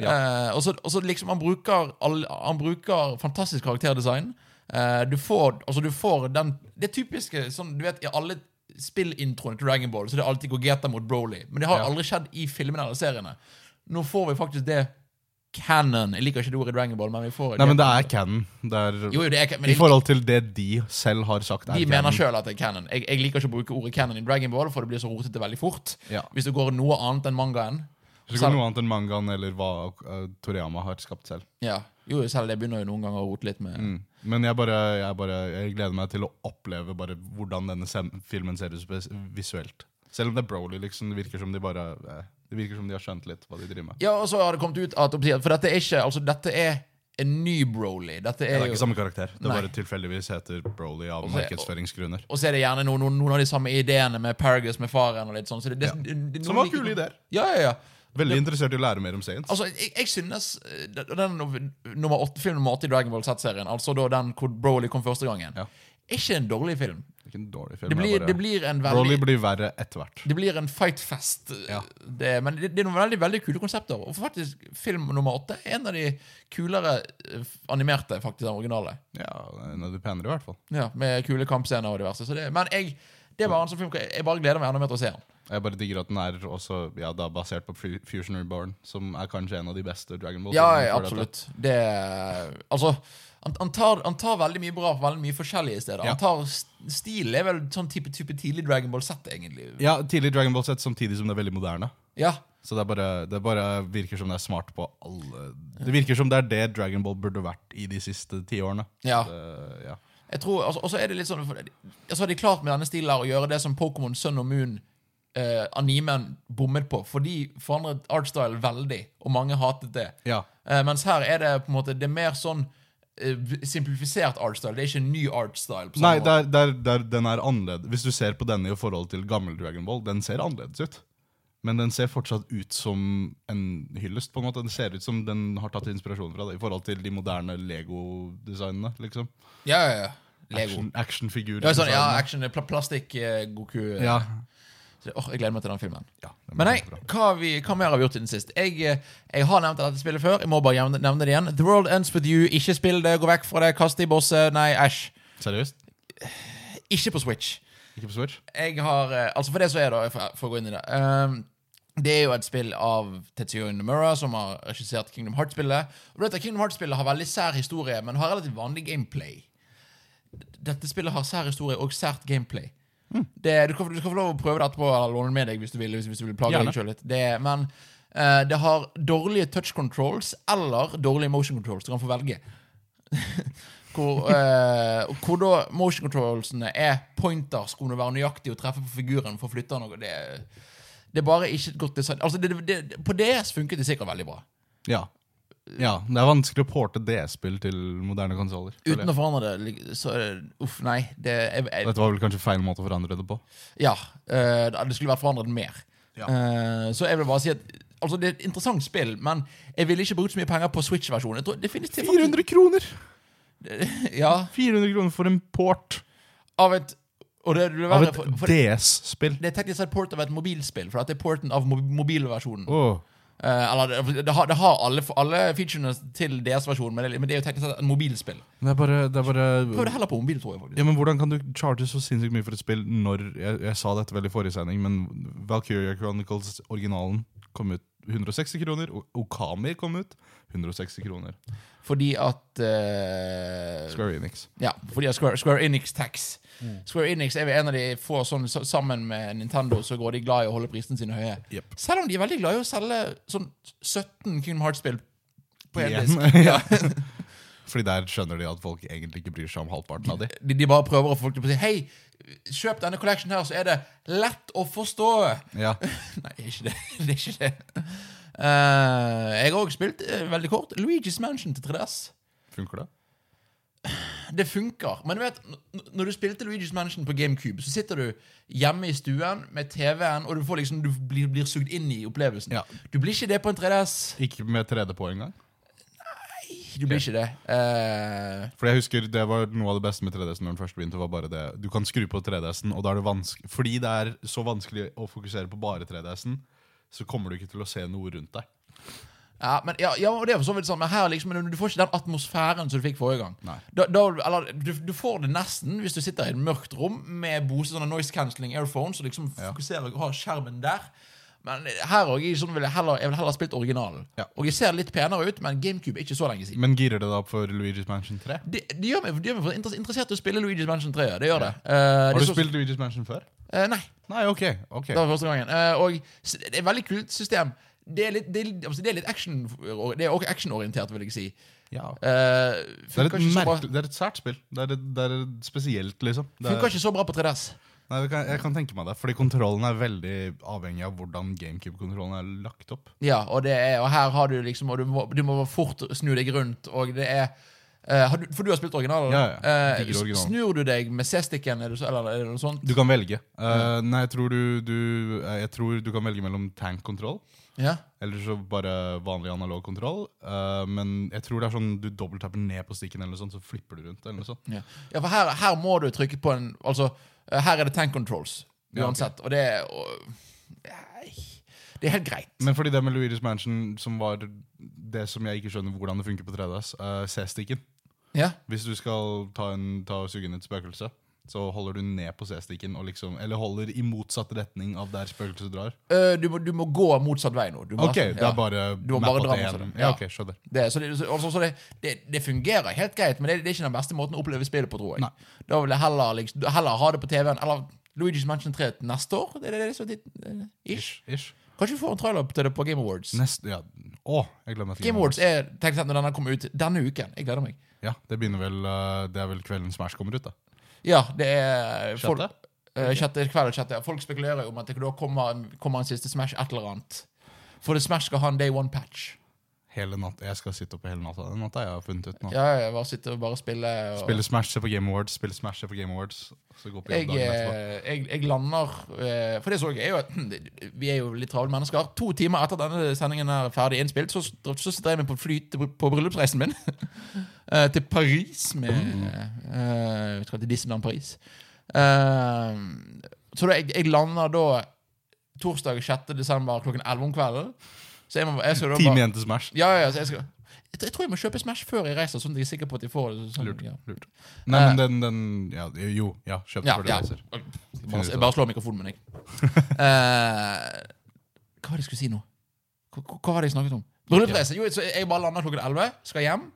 [SPEAKER 2] Ja.
[SPEAKER 1] Eh, og, så, og så liksom han bruker, all, han bruker fantastisk karakterdesign. Eh, du, får, altså, du får den Det typiske sånn, du vet, i alle spillintroene til Dragon Ball Så det er alltid Gogeta mot Broly. Men det har
[SPEAKER 2] Ja.
[SPEAKER 1] aldri skjedd i filmene eller seriene. Nå får vi faktisk det canon. Jeg liker ikke det ordet i Dragon Ball, men vi får
[SPEAKER 2] Nei, men det er canon. Det er,
[SPEAKER 1] Jo, jo, det er ca- men
[SPEAKER 2] I
[SPEAKER 1] de,
[SPEAKER 2] forhold til det de selv har sagt er
[SPEAKER 1] de mener
[SPEAKER 2] canon.
[SPEAKER 1] sjøl at det er canon. Jeg, jeg liker ikke å bruke ordet canon i Dragon Ball, for det blir så rotete veldig fort.
[SPEAKER 2] Ja.
[SPEAKER 1] Hvis det går noe annet enn mangaen.
[SPEAKER 2] Så går det noe annet enn mangaen eller hva eh, Toriyama har skapt selv.
[SPEAKER 1] Ja. Jo, selv det begynner jo noen ganger å rote litt med
[SPEAKER 2] Mm. Men jeg bare, jeg bare jeg gleder meg til å oppleve bare hvordan denne sem- filmen ser ut spes- visuelt. Selv om det er Broly, liksom, det virker som de bare eh, Det virker som de har skjønt litt hva de driver med.
[SPEAKER 1] Ja, og så har det kommet ut at For dette er ikke Altså, dette er en ny Broly. Dette
[SPEAKER 2] Det
[SPEAKER 1] er
[SPEAKER 2] er
[SPEAKER 1] jo
[SPEAKER 2] ikke samme karakter. Det
[SPEAKER 1] Nei.
[SPEAKER 2] bare tilfeldigvis heter Broly av
[SPEAKER 1] Og så-
[SPEAKER 2] markedsføringsgrunner.
[SPEAKER 1] Og så er det gjerne noen, noen, noen av de samme ideene med Paragus med faren og litt sånn. Så det, det,
[SPEAKER 2] Ja.
[SPEAKER 1] det, det,
[SPEAKER 2] Som var kule ideer.
[SPEAKER 1] Ja, ja, ja.
[SPEAKER 2] Veldig interessert i å lære mer om Saints.
[SPEAKER 1] Altså, jeg, jeg synes eh, den- den nov- nummer åtte, film nummer åtte i Dragon Ball Z-serien, altså da den hvor Broly kom første gangen,
[SPEAKER 2] Ja.
[SPEAKER 1] er ikke en dårlig film.
[SPEAKER 2] det er ikke en dårlig film.
[SPEAKER 1] Det
[SPEAKER 2] jeg
[SPEAKER 1] blir,
[SPEAKER 2] bare,
[SPEAKER 1] det blir en
[SPEAKER 2] Broly
[SPEAKER 1] veldig
[SPEAKER 2] blir verre etter hvert.
[SPEAKER 1] det blir en fightfest, eh,
[SPEAKER 2] Ja.
[SPEAKER 1] det, men det, det er noen veldig veldig kule konsepter. Og faktisk, film nummer åtte er en av de kulere eh, animerte, faktisk, den originale.
[SPEAKER 2] Ja, En av de penere, i hvert fall.
[SPEAKER 1] Ja, Med kule kampscener og diverse. Så det, men jeg, det var en sånn film hvor jeg jeg bare gleder meg enda mer til å se den.
[SPEAKER 2] Jeg bare digger at den er også ja, da basert på Fu- Fusion Reborn, som er kanskje en av de beste Dragon Ball.
[SPEAKER 1] Ja,
[SPEAKER 2] filmene
[SPEAKER 1] ja,
[SPEAKER 2] før dette.
[SPEAKER 1] absolutt. Det Altså, han, han, tar, han tar veldig mye bra på veldig mye forskjellige steder.
[SPEAKER 2] Ja.
[SPEAKER 1] Han tar st- Stilen er vel sånn type, type tidlig Dragon Ball Z, egentlig. Ja.
[SPEAKER 2] Ja, Tidlig Dragon Ball Z, samtidig som det er veldig moderne. Så det, er bare, det bare virker som det er smart på alle Det virker som det er det Dragon Ball burde vært i de siste ti årene.
[SPEAKER 1] Ja.
[SPEAKER 2] Det- ja.
[SPEAKER 1] Jeg tror, altså, Og så er det litt sånn for, Så har de klart med denne stilen her å gjøre det som Pokémon Sun og Moon, eh, animen, bommet på. For de forandret artstyle veldig, og mange hatet det.
[SPEAKER 2] ja.
[SPEAKER 1] Eh, mens her er det på en måte Det er mer sånn eh, simplifisert artstyle. Det er ikke en ny artstyle. på samme
[SPEAKER 2] Nei,
[SPEAKER 1] måte.
[SPEAKER 2] der, der, der, den er annerledes. Hvis du ser på denne i forhold til gammel Dragon Ball, den ser annerledes ut. Men den ser fortsatt ut som en hyllest. på en måte Den ser ut som den har tatt inspirasjon fra det, i forhold til de moderne Lego-designene. liksom
[SPEAKER 1] Ja, ja, ja. Lego.
[SPEAKER 2] Action- Actionfigurer.
[SPEAKER 1] Ja, sånn, ja action, pla plastikk, eh, Goku eh,
[SPEAKER 2] ja.
[SPEAKER 1] så, åh, Jeg gleder meg til den filmen.
[SPEAKER 2] Ja, den
[SPEAKER 1] Men
[SPEAKER 2] er
[SPEAKER 1] nei,
[SPEAKER 2] bra.
[SPEAKER 1] hva, har vi, hva mer har vi gjort siden sist? Jeg, eh, jeg har nevnt dette spillet før. Jeg må bare jevne- nevne det igjen. The World Ends With You. Ikke spill det. Gå vekk fra det. Kast det i bosset. Nei, æsj.
[SPEAKER 2] Seriøst?
[SPEAKER 1] Ikke på Switch.
[SPEAKER 2] Ikke på Switch?
[SPEAKER 1] Jeg har eh, Altså, for det så er det, for, for å gå inn i det ehm, Det er jo et spill av Tetsuyo Nomura, som har regissert Kingdom Hearts-spillet. Og dette Kingdom Hearts-spillet har veldig sær historie, men har relativt vanlig gameplay. Dette spillet har sær historie og sært gameplay. Det, du, kan, du kan få lov å prøve det etterpå, eller låne med deg hvis du vil. Hvis, hvis du vil plage
[SPEAKER 2] Gjerne.
[SPEAKER 1] deg selv litt det, Men eh, det har dårlige touch controls eller dårlige motion controls. Du kan få velge. *laughs* Hvor, eh, og hvor da motion controlsene er pointers, hvor du være nøyaktig og treffe på figuren for å flytte den. og Det, det er bare ikke et godt design. Altså, det, det, det, på DS funket det sikkert veldig bra.
[SPEAKER 2] Ja. ja. Det er vanskelig å porte DS-spill til moderne konsoller.
[SPEAKER 1] Uten å forandre det, lik- så er det- Uff, nei. Det, jeg, jeg,
[SPEAKER 2] Dette var vel kanskje feil måte å forandre det på.
[SPEAKER 1] Ja, eh, det skulle vært forandret mer.
[SPEAKER 2] Ja.
[SPEAKER 1] Eh, så jeg vil bare si at Altså, Det er et interessant spill, men jeg ville ikke brukt så mye penger på Switch-versjonen. Jeg tror det finnes til faktisk-
[SPEAKER 2] kroner!
[SPEAKER 1] *laughs* Ja,
[SPEAKER 2] 400 kroner for en port
[SPEAKER 1] av et Og det vil
[SPEAKER 2] av
[SPEAKER 1] være
[SPEAKER 2] et
[SPEAKER 1] for, for,
[SPEAKER 2] DS-spill.
[SPEAKER 1] Det er teknisk sett port av et mobilspill, for dette er porten av mo- mobilversjonen.
[SPEAKER 2] Åh.
[SPEAKER 1] Eh, eller det, det, har, det har alle, alle featurene til DS-versjonen, men, det- men det er jo teknisk sett et mobilspill.
[SPEAKER 2] Det er bare, det er bare
[SPEAKER 1] Prøv det heller på mobil, tror jeg. faktisk
[SPEAKER 2] ja, men Hvordan kan du charge så sinnssykt mye for et spill når Jeg, jeg sa dette vel i forrige sending, men Valkyria Chronicles-originalen kom ut 160 kroner. og Okami kom ut 160 kroner.
[SPEAKER 1] Fordi at eh,
[SPEAKER 2] Square Enix.
[SPEAKER 1] Ja, fordi at Square, Square Enix tax. Square Enix er vel en av de få sånn, så- sammen med Nintendo så går de glad i å holde prisene sine høye.
[SPEAKER 2] Yep.
[SPEAKER 1] Selv om de er veldig glad i å selge sånn 17 Kingdom Hearts-spill på en disk.
[SPEAKER 2] Ja. Fordi der skjønner de at folk egentlig ikke bryr seg om halvparten av de.
[SPEAKER 1] *laughs* De, de bare prøver å få folk til å si Hei, kjøp denne collection her, så er det lett å forstå. *laughs*
[SPEAKER 2] Ja.
[SPEAKER 1] Nei, det er ikke det. *laughs* det, er ikke det. Eh, jeg har også spilt eh, veldig kort Luigi's Mansion til 3DS.
[SPEAKER 2] Funker det?
[SPEAKER 1] det funker. Men du vet, n- når du spilte Luigi's Mansion på GameCube, så sitter du hjemme i stuen med TV-en, og du, får liksom, du blir, blir sugd inn i opplevelsen.
[SPEAKER 2] Ja.
[SPEAKER 1] Du blir ikke det på en 3DS.
[SPEAKER 2] Ikke med 3D på engang?
[SPEAKER 1] Du blir ikke det. Eh,
[SPEAKER 2] For jeg husker Det var noe av det beste med 3DS-en når den først begynte. var bare det Du kan skru på 3DS-en, og da er det vanskelig Fordi det er så vanskelig å fokusere på bare 3DS-en, så kommer du ikke til å se noe rundt deg.
[SPEAKER 1] ja, men, ja, ja, og det er for så vidt sånn, men her liksom, men du får ikke den atmosfæren som du fikk forrige gang.
[SPEAKER 2] Nei.
[SPEAKER 1] Da, da, eller, du, du får det nesten hvis du sitter i et mørkt rom med bose sånne noise cancelling airphones og liksom
[SPEAKER 2] Ja.
[SPEAKER 1] fokuserer og har skjermen der. Men her òg jeg, sånn vil jeg, heller- jeg vil heller ha spilt originalen.
[SPEAKER 2] Ja.
[SPEAKER 1] Og jeg ser litt penere ut, men GameCube er ikke så lenge siden.
[SPEAKER 2] Men girer det da opp for Luigi's Mansion 3?
[SPEAKER 1] Det, det gjør meg, det gjør meg for inter- interessert i å spille Luigi's Mansion 3. ja. Det gjør det. Eh, det
[SPEAKER 2] Har du
[SPEAKER 1] så-
[SPEAKER 2] spilt Luigi's Mansion før?
[SPEAKER 1] Eh, nei.
[SPEAKER 2] Nei, ok. ok
[SPEAKER 1] Det var første gangen. Eh, og s- det er et veldig kult system. Det er litt, det er, litt- altså, det er litt action Det er også actionorientert, vil jeg si.
[SPEAKER 2] Ja.
[SPEAKER 1] Eh,
[SPEAKER 2] Det, er
[SPEAKER 1] funker,
[SPEAKER 2] et
[SPEAKER 1] ikke så bra,
[SPEAKER 2] merkelig, det er et sært spill. Det er, et, det er et spesielt, liksom. Det
[SPEAKER 1] funker
[SPEAKER 2] er,
[SPEAKER 1] ikke så bra på 3DS.
[SPEAKER 2] nei, jeg, kan, jeg kan tenke meg det, fordi kontrollen er veldig avhengig av hvordan GameCube-kontrollen er lagt opp.
[SPEAKER 1] Ja, og, det er, og her har du liksom Og du må, du må fort snu deg rundt, og det er eh, har du, For du har spilt originalen?
[SPEAKER 2] Ja, ja.
[SPEAKER 1] Eh,
[SPEAKER 2] Digger originalen.
[SPEAKER 1] snur du deg med C-sticken, er det så- eller er det noe sånt?
[SPEAKER 2] Du kan velge. Eh, nei, jeg tror du, du, eh, jeg tror du kan velge mellom tank-kontroll
[SPEAKER 1] Ja.
[SPEAKER 2] eller så bare vanlig analog kontroll. Eh, men jeg tror det er sånn du dobbelttapper ned på stikken, eller noe sånt, så flipper du rundt. eller noe sånt.
[SPEAKER 1] Ja, ja for her, her må du trykke på en Altså, eh, her er det tank controls
[SPEAKER 2] Ja, ok.
[SPEAKER 1] uansett, og det er og, Nei, Det er helt greit.
[SPEAKER 2] Men fordi det med Luigi's Mansion, som var det som jeg ikke skjønner hvordan det funker på 3DS, eh, C-stikken.
[SPEAKER 1] Ja,
[SPEAKER 2] Hvis du skal ta, en, ta og suge inn et spøkelse, så holder du ned på C-stikken, og liksom, eller holder i motsatt retning av der spøkelset drar.
[SPEAKER 1] Eh, du, må, du må gå motsatt vei nå. Du må,
[SPEAKER 2] Ok, det
[SPEAKER 1] ja.
[SPEAKER 2] er bare
[SPEAKER 1] Du må bare dra mot
[SPEAKER 2] igjen.
[SPEAKER 1] det.
[SPEAKER 2] Ja,
[SPEAKER 1] Ja.
[SPEAKER 2] ok, skjønner.
[SPEAKER 1] det, så det, så, altså, så det, det, det fungerer helt greit, men det, det er ikke den beste måten å oppleve spillet på, tror jeg.
[SPEAKER 2] Nei.
[SPEAKER 1] Da vil jeg heller, liksom, heller ha det på TV-en. Eller Luigi's Mansion 3 til neste år? Det, er det, det, som er titt- eh, ish.
[SPEAKER 2] Ish.
[SPEAKER 1] Kanskje vi får en trailer til det på Game Awards.
[SPEAKER 2] Neste, ja. Å, jeg glemmer at
[SPEAKER 1] Game Awards er tenk sant, når denne kommer ut denne uken. Jeg gleder meg.
[SPEAKER 2] Ja, det begynner vel, eh, det er vel kvelden Smash kommer ut da.
[SPEAKER 1] Ja, det er folk-
[SPEAKER 2] Sjette?
[SPEAKER 1] Eh, sjette kveld og sjette. Folk spekulerer jo om at det da kommer, en- kommer en siste Smash et eller annet. For Smash skal ha en day one-patch.
[SPEAKER 2] Hele natta, jeg skal sitte oppe hele natta. Den natta jeg har funnet ut nå.
[SPEAKER 1] Ja, jeg bare sitter og bare spiller. Og
[SPEAKER 2] Spille Smash, se på Game Awards, spille Smash, se på Game Awards. Så gå på
[SPEAKER 1] Jeg,
[SPEAKER 2] jobb dagen etterpå.
[SPEAKER 1] eh, jeg, jeg lander eh, For det så jeg er jo at hm, det- vi er jo litt travle mennesker. To timer etter at denne sendingen er ferdig innspilt, så, så sitter jeg meg på et fly til, på bryllupsreisen min. *laughs* eh, til Paris med
[SPEAKER 2] Mm.
[SPEAKER 1] eh, Vi skal til Disneyland Paris. Eh, så da, jeg, jeg lander da torsdag 6. desember klokken 11 om kvelden. Så jeg må jeg skal da
[SPEAKER 2] Time
[SPEAKER 1] bare,
[SPEAKER 2] igjen til Smash.
[SPEAKER 1] ja, ja, ja, så jeg, skal, jeg, jeg tror jeg må kjøpe Smash før jeg reiser, sånn at jeg er sikker på at jeg får det. Sånn,
[SPEAKER 2] Lurt,
[SPEAKER 1] ja.
[SPEAKER 2] lurt. Nei, men den, den, ja, jo, ja, kjøp
[SPEAKER 1] Eh.
[SPEAKER 2] det
[SPEAKER 1] Ja,
[SPEAKER 2] før du
[SPEAKER 1] ja.
[SPEAKER 2] reiser.
[SPEAKER 1] Jeg bare, jeg bare slår mikrofonen
[SPEAKER 2] *laughs*
[SPEAKER 1] min, jeg. Eh, hva var det jeg skulle si nå? Hva, hva- hva var det jeg snakket om? Bryllupsreise. Jo, så jeg bare lander klokken 11, skal hjem,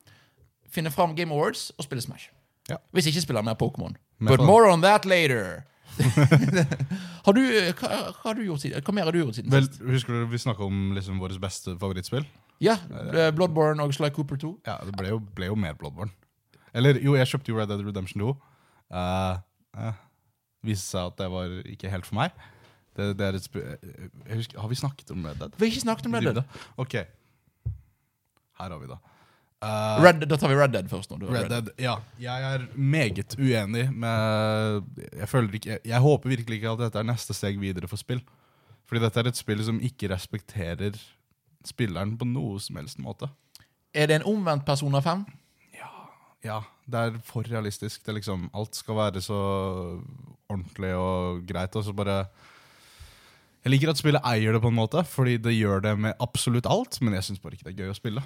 [SPEAKER 1] finne fram Game Awards og spille Smash.
[SPEAKER 2] Ja.
[SPEAKER 1] Hvis jeg ikke spiller mer Pokémon.
[SPEAKER 2] Men
[SPEAKER 1] But
[SPEAKER 2] faen.
[SPEAKER 1] more on that
[SPEAKER 2] *laughs*
[SPEAKER 1] later. har du, eh, hva, hva har du gjort siden Hva mer har du gjort siden
[SPEAKER 2] Vel,
[SPEAKER 1] sist?
[SPEAKER 2] husker du vi snakket om liksom våres beste favorittspill?
[SPEAKER 1] Ja, eh, Bloodborne og Sly Cooper 2.
[SPEAKER 2] Ja, det ble jo, ble jo mer Bloodborne. Eller jo, jeg kjøpte jo Red Dead Redemption 2. Uh, viste seg at det var ikke helt for meg. Det, det er et sp jeg husker, har vi snakket om Red Dead?
[SPEAKER 1] Vi har ikke snakket om Red Dead.
[SPEAKER 2] Ok. Her har vi det. Eh,
[SPEAKER 1] Red, da tar vi Red Dead først. nå. Du har
[SPEAKER 2] Red Dead, ja. Jeg er meget uenig med Jeg, føler ikke, jeg, jeg håper virkelig ikke at dette er neste steg videre for spill. Fordi dette er et spill som ikke respekterer spilleren på noe som helst måte.
[SPEAKER 1] Er det en omvendt Persona 5?
[SPEAKER 2] Ja, det er for realistisk. Det er liksom, alt skal være så ordentlig og greit, og så bare Jeg liker at spillet eier det, på en måte, fordi det gjør det med absolutt alt, men jeg syns bare ikke det er gøy å spille.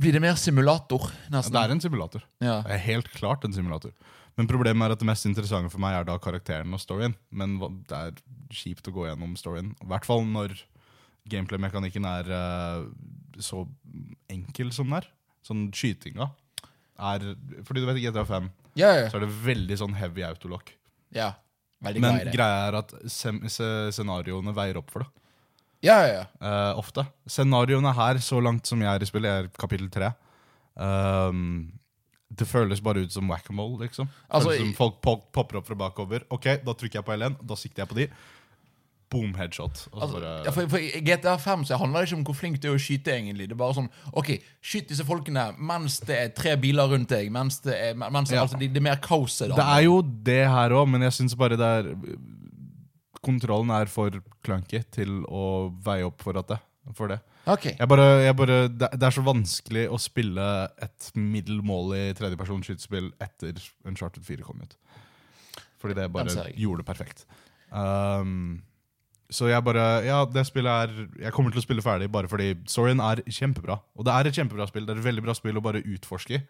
[SPEAKER 1] Blir det mer simulator, nesten?
[SPEAKER 2] Det er en simulator.
[SPEAKER 1] Ja.
[SPEAKER 2] Det er helt klart en simulator. Men problemet er at det mest interessante for meg er da karakteren og storyen. Men hva- det er kjipt å gå gjennom storyen. I hvert fall når gameplay-mekanikken er eh, så enkel som den er. Sånn skytinga er Fordi du vet i GTA 5
[SPEAKER 1] Ja, ja,
[SPEAKER 2] så er det veldig sånn heavy autolock.
[SPEAKER 1] ja. Veldig glad i
[SPEAKER 2] Men
[SPEAKER 1] det.
[SPEAKER 2] greia er at sem se- scenarioene veier opp for det.
[SPEAKER 1] Ja, ja, ja.
[SPEAKER 2] Eh, ofte. Scenarioene her, så langt som jeg er i spillet, er kapittel tre. Ehm, det føles bare ut som whack-a-mole, liksom.
[SPEAKER 1] Altså,
[SPEAKER 2] føles som
[SPEAKER 1] i-
[SPEAKER 2] folk pop popper opp fra bakover. Ok, da trykker jeg på L1, da sikter jeg på de. Boom, headshot. Og så
[SPEAKER 1] Altså,
[SPEAKER 2] bare,
[SPEAKER 1] ja, for, for I GTA 5 så handler det ikke om hvor flink du er å skyte. egentlig Det er bare sånn OK, skyt disse folkene mens det er tre biler rundt deg. Mens det er, mens,
[SPEAKER 2] Ja.
[SPEAKER 1] altså, det, det er mer kaoset.
[SPEAKER 2] det
[SPEAKER 1] da.
[SPEAKER 2] er jo det her òg, men jeg syns bare det er Kontrollen er for clunky til å veie opp for, at det, for det.
[SPEAKER 1] Ok,
[SPEAKER 2] Jeg bare, jeg bare, det, det er så vanskelig å spille et middelmålig tredjeperson skytespill etter Uncharted 4 kom ut. Fordi det
[SPEAKER 1] Den
[SPEAKER 2] bare
[SPEAKER 1] ser jeg.
[SPEAKER 2] gjorde det perfekt. Um, så jeg bare Ja, det spillet er Jeg kommer til å spille ferdig bare fordi storyen er kjempebra. Og det er et kjempebra spill. Det er et veldig bra spill å bare utforske i.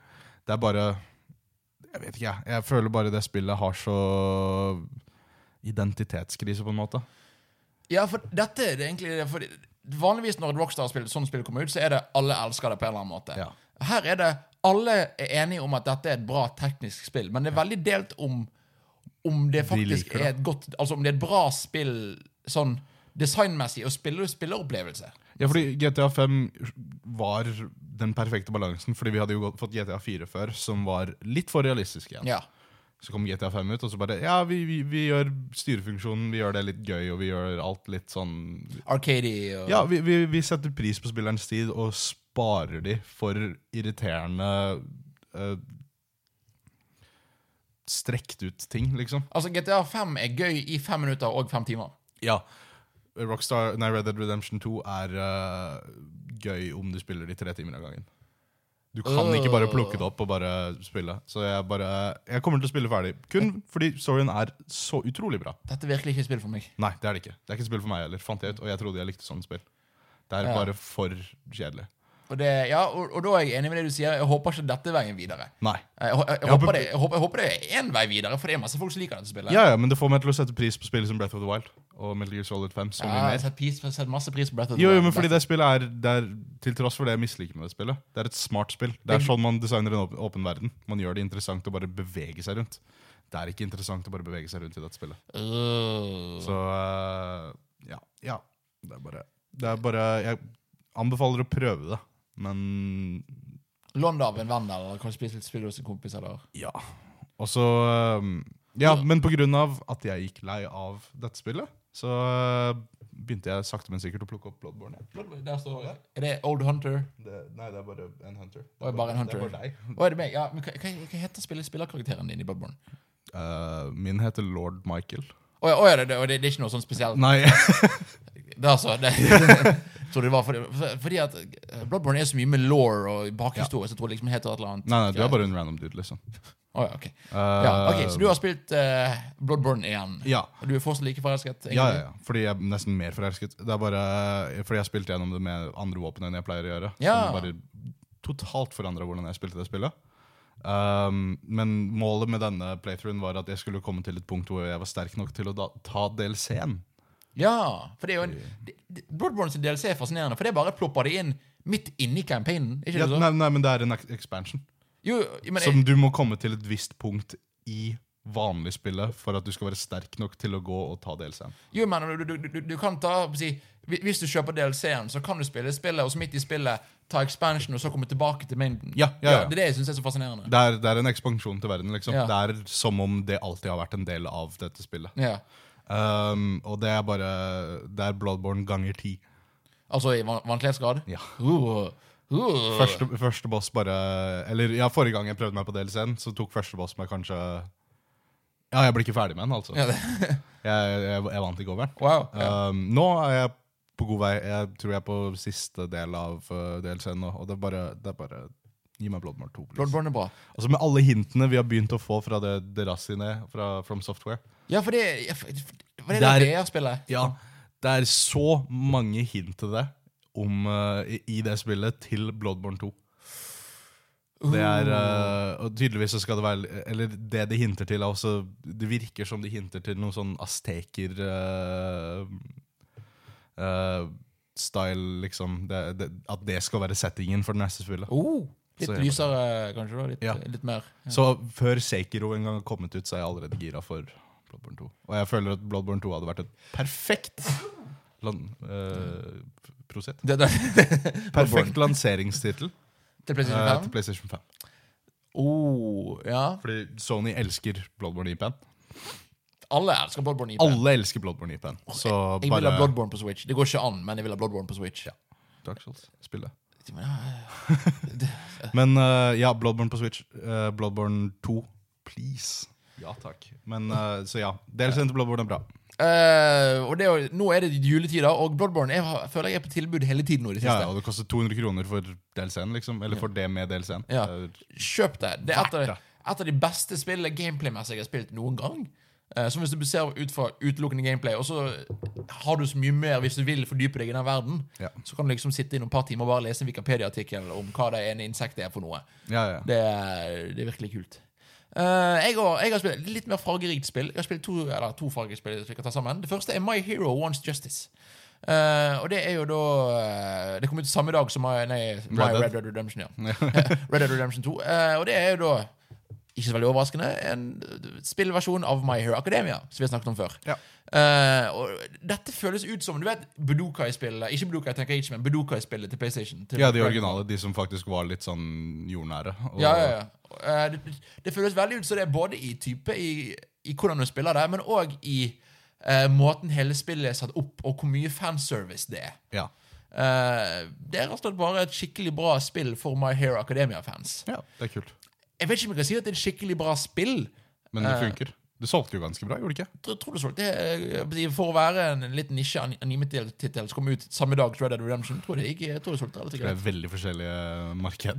[SPEAKER 2] Det er bare Jeg vet ikke, jeg. Jeg føler bare det spillet har så identitetskrise, på en måte.
[SPEAKER 1] Ja, for dette er det egentlig for Vanligvis når et Rockstar-spill sånn spill kommer ut, så er det alle elsker det på en eller annen måte.
[SPEAKER 2] Ja.
[SPEAKER 1] Her er det alle er enige om at dette er et bra teknisk spill, men det er veldig delt om om det faktisk
[SPEAKER 2] liker det.
[SPEAKER 1] er et godt Altså om det er et bra spill sånn designmessig og spiller, spilleropplevelse.
[SPEAKER 2] Ja, fordi GTA 5 var den perfekte balansen, fordi vi hadde jo gått- fått GTA 4 før, som var litt for realistisk igjen.
[SPEAKER 1] Ja.
[SPEAKER 2] Så kom GTA 5 ut, og så bare Ja, vi, vi, vi gjør styrefunksjonen, vi gjør det litt gøy, og vi gjør alt litt sånn
[SPEAKER 1] Arcady og
[SPEAKER 2] Ja, vi, vi, vi setter pris på spillerens tid og sparer de for irriterende eh, Strekt ut ting, liksom.
[SPEAKER 1] Altså, GTA 5 er gøy i fem minutter og fem timer.
[SPEAKER 2] Ja. Rockstar, nei, Red Dead Redemption 2 er eh, gøy om du spiller de tre timer av gangen. Du kan ikke bare plukke det opp og bare spille. Så jeg bare Jeg kommer til å spille ferdig. Kun fordi storyen er så utrolig bra.
[SPEAKER 1] Dette er virkelig ikke et spill for meg.
[SPEAKER 2] Nei, det er det ikke. Det er ikke et spill for meg heller, fant jeg ut. Og jeg trodde jeg likte sånne spill. Det er
[SPEAKER 1] Ja.
[SPEAKER 2] bare for kjedelig.
[SPEAKER 1] Og, det, ja, og, og da er jeg enig med det du sier. Jeg håper ikke dette er veien videre.
[SPEAKER 2] Nei.
[SPEAKER 1] Jeg, hå- jeg,
[SPEAKER 2] Jeg
[SPEAKER 1] håper
[SPEAKER 2] håper-
[SPEAKER 1] det, jeg, håper, jeg håper det er én vei videre, for det er masse folk som liker dette spillet.
[SPEAKER 2] Ja, ja, men det får meg til å sette pris på spill som Breath of the Wild og Metal Gear Solid 5. Så
[SPEAKER 1] Ja,
[SPEAKER 2] mye
[SPEAKER 1] jeg har
[SPEAKER 2] mer.
[SPEAKER 1] sett, pris, jeg har sett masse pris på Breath of the
[SPEAKER 2] Jo, jo,
[SPEAKER 1] Wild.
[SPEAKER 2] men fordi det spillet er, det er Til tross for det jeg misliker med det spillet, det er et smart spill. Det er sånn man designer en åpen, åpen verden. Man gjør det interessant å bare bevege seg rundt. Det er ikke interessant å bare bevege seg rundt i dette spillet.
[SPEAKER 1] Øh.
[SPEAKER 2] Så eh, ja. ja. Det er bare, det er bare Jeg anbefaler å prøve det, men
[SPEAKER 1] Lån det av en venn, eller kanskje spille litt spill hos en kompis, eller
[SPEAKER 2] ja. Og så eh, Ja, men på grunn av at jeg gikk lei av dette spillet, så eh, begynte jeg sakte, men sikkert å plukke opp Bloodborne. igjen.
[SPEAKER 1] Der står det. Er det Old Hunter?
[SPEAKER 2] Det, nei, det er bare en hunter.
[SPEAKER 1] Oi, bare en hunter.
[SPEAKER 2] Det er bare deg.
[SPEAKER 1] Å, er det meg? Ja, men hva, hva, hva heter spiller, spillerkarakteren din i Bloodborne?
[SPEAKER 2] Eh, min heter lord Michael.
[SPEAKER 1] Å ja, å ja, det, det, og det, det er ikke noe sånn spesielt?
[SPEAKER 2] Nei, *laughs*
[SPEAKER 1] Det er altså, det, jeg tror det *laughs* var fordi, for- fordi at eh, Bloodborne er så mye med law og bakhistorie, så jeg tror det liksom heter et eller annet.
[SPEAKER 2] nei, nei, du er bare en random dude, liksom.
[SPEAKER 1] Å ja, ok.
[SPEAKER 2] Eh,
[SPEAKER 1] Ja, ok, Så du har spilt eh, Bloodborne igjen?
[SPEAKER 2] ja.
[SPEAKER 1] Og du er fortsatt like forelsket?
[SPEAKER 2] Ja, ja, ja. Fordi jeg er nesten mer forelsket. Det er bare eh, fordi jeg spilte gjennom det med andre våpen enn jeg pleier å gjøre.
[SPEAKER 1] Ja.
[SPEAKER 2] Som bare totalt forandra hvordan jeg spilte det spillet. Um, men målet med denne playthroughen var at jeg skulle komme til et punkt hvor jeg var sterk nok til å da, ta DLC-en.
[SPEAKER 1] Ja, for det er jo en, det- det- Bloodborne sin DLC er fascinerende, for det bare plopper det inn midt inni campaignen. Ikke
[SPEAKER 2] Ja,
[SPEAKER 1] det sånn?
[SPEAKER 2] nei, nei, men det er en ek- expansion.
[SPEAKER 1] Jo, jo, men
[SPEAKER 2] Som du må komme til et visst punkt i vanlig spillet for at du skal være sterk nok til å gå og ta DLC-en.
[SPEAKER 1] Jo, men du, du, du- du, du kan ta si, hvi- Hvis du kjøper DLC-en, så kan du spille spillet, og så midt i spillet ta expansion, og så komme tilbake til mainden.
[SPEAKER 2] Ja, ja, ja.
[SPEAKER 1] det er det jeg syns er så fascinerende.
[SPEAKER 2] Det er, det er en ekspansjon til verden. liksom.
[SPEAKER 1] Ja.
[SPEAKER 2] Det er som om det alltid har vært en del av dette spillet.
[SPEAKER 1] Ja.
[SPEAKER 2] Um, og det er bare Det er Bloodborne ganger ti.
[SPEAKER 1] Altså i van vanskelighetsgrad?
[SPEAKER 2] Ja.
[SPEAKER 1] Uh, uh.
[SPEAKER 2] Første, første boss bare Eller ja, forrige gang jeg prøvde meg på DLC-en, så tok første boss meg kanskje Ja, jeg ble ikke ferdig med den, altså.
[SPEAKER 1] *laughs* Ja, det,
[SPEAKER 2] Jeg, jeg, jeg vant ikke over den.
[SPEAKER 1] wow. Ja.
[SPEAKER 2] Um, nå er jeg på god vei. Jeg tror jeg er på siste del av uh, DLC-en nå. Og det er bare, det er bare Gi meg Bloodborne 2. please.
[SPEAKER 1] Bloodborne er bra.
[SPEAKER 2] Altså Med alle hintene vi har begynt å få fra det Derasine fra From Software.
[SPEAKER 1] Ja, for det ja, for- for det
[SPEAKER 2] Der-
[SPEAKER 1] er det VR-spillet.
[SPEAKER 2] Ja, Det er så mange hint til det om, uh, i, i det spillet til Bloodborne 2. Det er, uh, og tydeligvis så skal det være Eller det de hinter til, er også Det virker som de hinter til noe sånn asteker uh, uh, Style, liksom. Det, det, at det skal være settingen for det neste spillet.
[SPEAKER 1] Oh, litt
[SPEAKER 2] Så jeg-
[SPEAKER 1] lysere, kanskje? da, Litt,
[SPEAKER 2] Ja.
[SPEAKER 1] litt mer. Ja.
[SPEAKER 2] Så før Sekiro en gang har kommet ut, så er jeg allerede gira for Bloodborne 2. Og jeg føler at Bloodborne 2 hadde vært et perfekt lan, eh, Prosit.
[SPEAKER 1] *laughs* Det, det,
[SPEAKER 2] Perfekt
[SPEAKER 1] til
[SPEAKER 2] lanseringstittel eh,
[SPEAKER 1] PlayStation 5?
[SPEAKER 2] til PlayStation 5.
[SPEAKER 1] Oh, ja.
[SPEAKER 2] Fordi Sony elsker Bloodborne IP.
[SPEAKER 1] Alle elsker Bloodborne IP.
[SPEAKER 2] Alle elsker Bloodborne IP. Så
[SPEAKER 1] Jeg vil ha
[SPEAKER 2] bare
[SPEAKER 1] Bloodborne på Switch. Det går ikke an, men jeg vil ha Bloodborne på Switch.
[SPEAKER 2] Dark Souls, spill det.
[SPEAKER 1] Men, ja,
[SPEAKER 2] Men eh, ja, Bloodborne på Switch. eh, Bloodborne 2, please. Ja takk. Men eh, så ja. Delsen til Bloodborne er bra.
[SPEAKER 1] Eh, og det, er jo- nå er det juletider, og Bloodborne jeg har- føler jeg er på tilbud hele tiden nå i det
[SPEAKER 2] Ja,
[SPEAKER 1] siste.
[SPEAKER 2] ja, og det koster 200 kroner for DLC-en, liksom. Eller for det med DLC-en.
[SPEAKER 1] Ja.
[SPEAKER 2] Det er-
[SPEAKER 1] Kjøp det. Det er et
[SPEAKER 2] Verdt
[SPEAKER 1] av,
[SPEAKER 2] det.
[SPEAKER 1] et av de beste spillene gameplay-messig jeg har spilt noen gang. Eh, som hvis du ser ut fra utelukkende gameplay, og så har du så mye mer hvis du vil fordype deg i den verden,
[SPEAKER 2] Ja.
[SPEAKER 1] så kan du liksom sitte innom et par timer og bare lese en Wikipedia-artikkel om hva det ene insektet er for noe.
[SPEAKER 2] Ja, ja.
[SPEAKER 1] Det, er- det er virkelig kult. Eh, jeg, har, jeg har spilt litt mer fargerikt spill. Jeg har spilt to, eller, to fargespill som vi kan ta sammen. Det første er My Hero Wants Justice. Eh, og det er jo da eh, Det kom ut samme dag som My, nei, My
[SPEAKER 2] Red Dead.
[SPEAKER 1] Red Dead Redemption. Ja.
[SPEAKER 2] *laughs*
[SPEAKER 1] Red Dead Redemption 2. eh, og det er jo da, ikke så veldig overraskende, en spillversjon av My Hero Academia, som vi har snakket om før.
[SPEAKER 2] Ja.
[SPEAKER 1] Eh, og dette føles ut som du vet, Budokai-spillet Ikke Budokai Tenkaichi, men Budokai-spillet til PlayStation. Til
[SPEAKER 2] Ja, de originale. De som faktisk var litt sånn jordnære. og-
[SPEAKER 1] Ja, ja, ja. Eh, det, det føles veldig ut som det er både i type, i, i hvordan du spiller det, men òg i eh, måten hele spillet er satt opp, og hvor mye fanservice det er.
[SPEAKER 2] ja.
[SPEAKER 1] Eh, det er rett og slett bare et skikkelig bra spill for My Hero Academia-fans.
[SPEAKER 2] Ja, det er kult.
[SPEAKER 1] Jeg vet ikke om jeg kan si at det er et skikkelig bra spill.
[SPEAKER 2] Men det
[SPEAKER 1] Eh.
[SPEAKER 2] funker. Det solgte jo ganske bra, gjorde det ikke?
[SPEAKER 1] Tror, tror du så det, eh, For å være en liten nisje-anime-tittel som kom ut samme dag som Red Dead Redemption, tror jeg det gikk- jeg tror det solgte relativt
[SPEAKER 2] Det
[SPEAKER 1] greit.
[SPEAKER 2] er veldig forskjellige marked.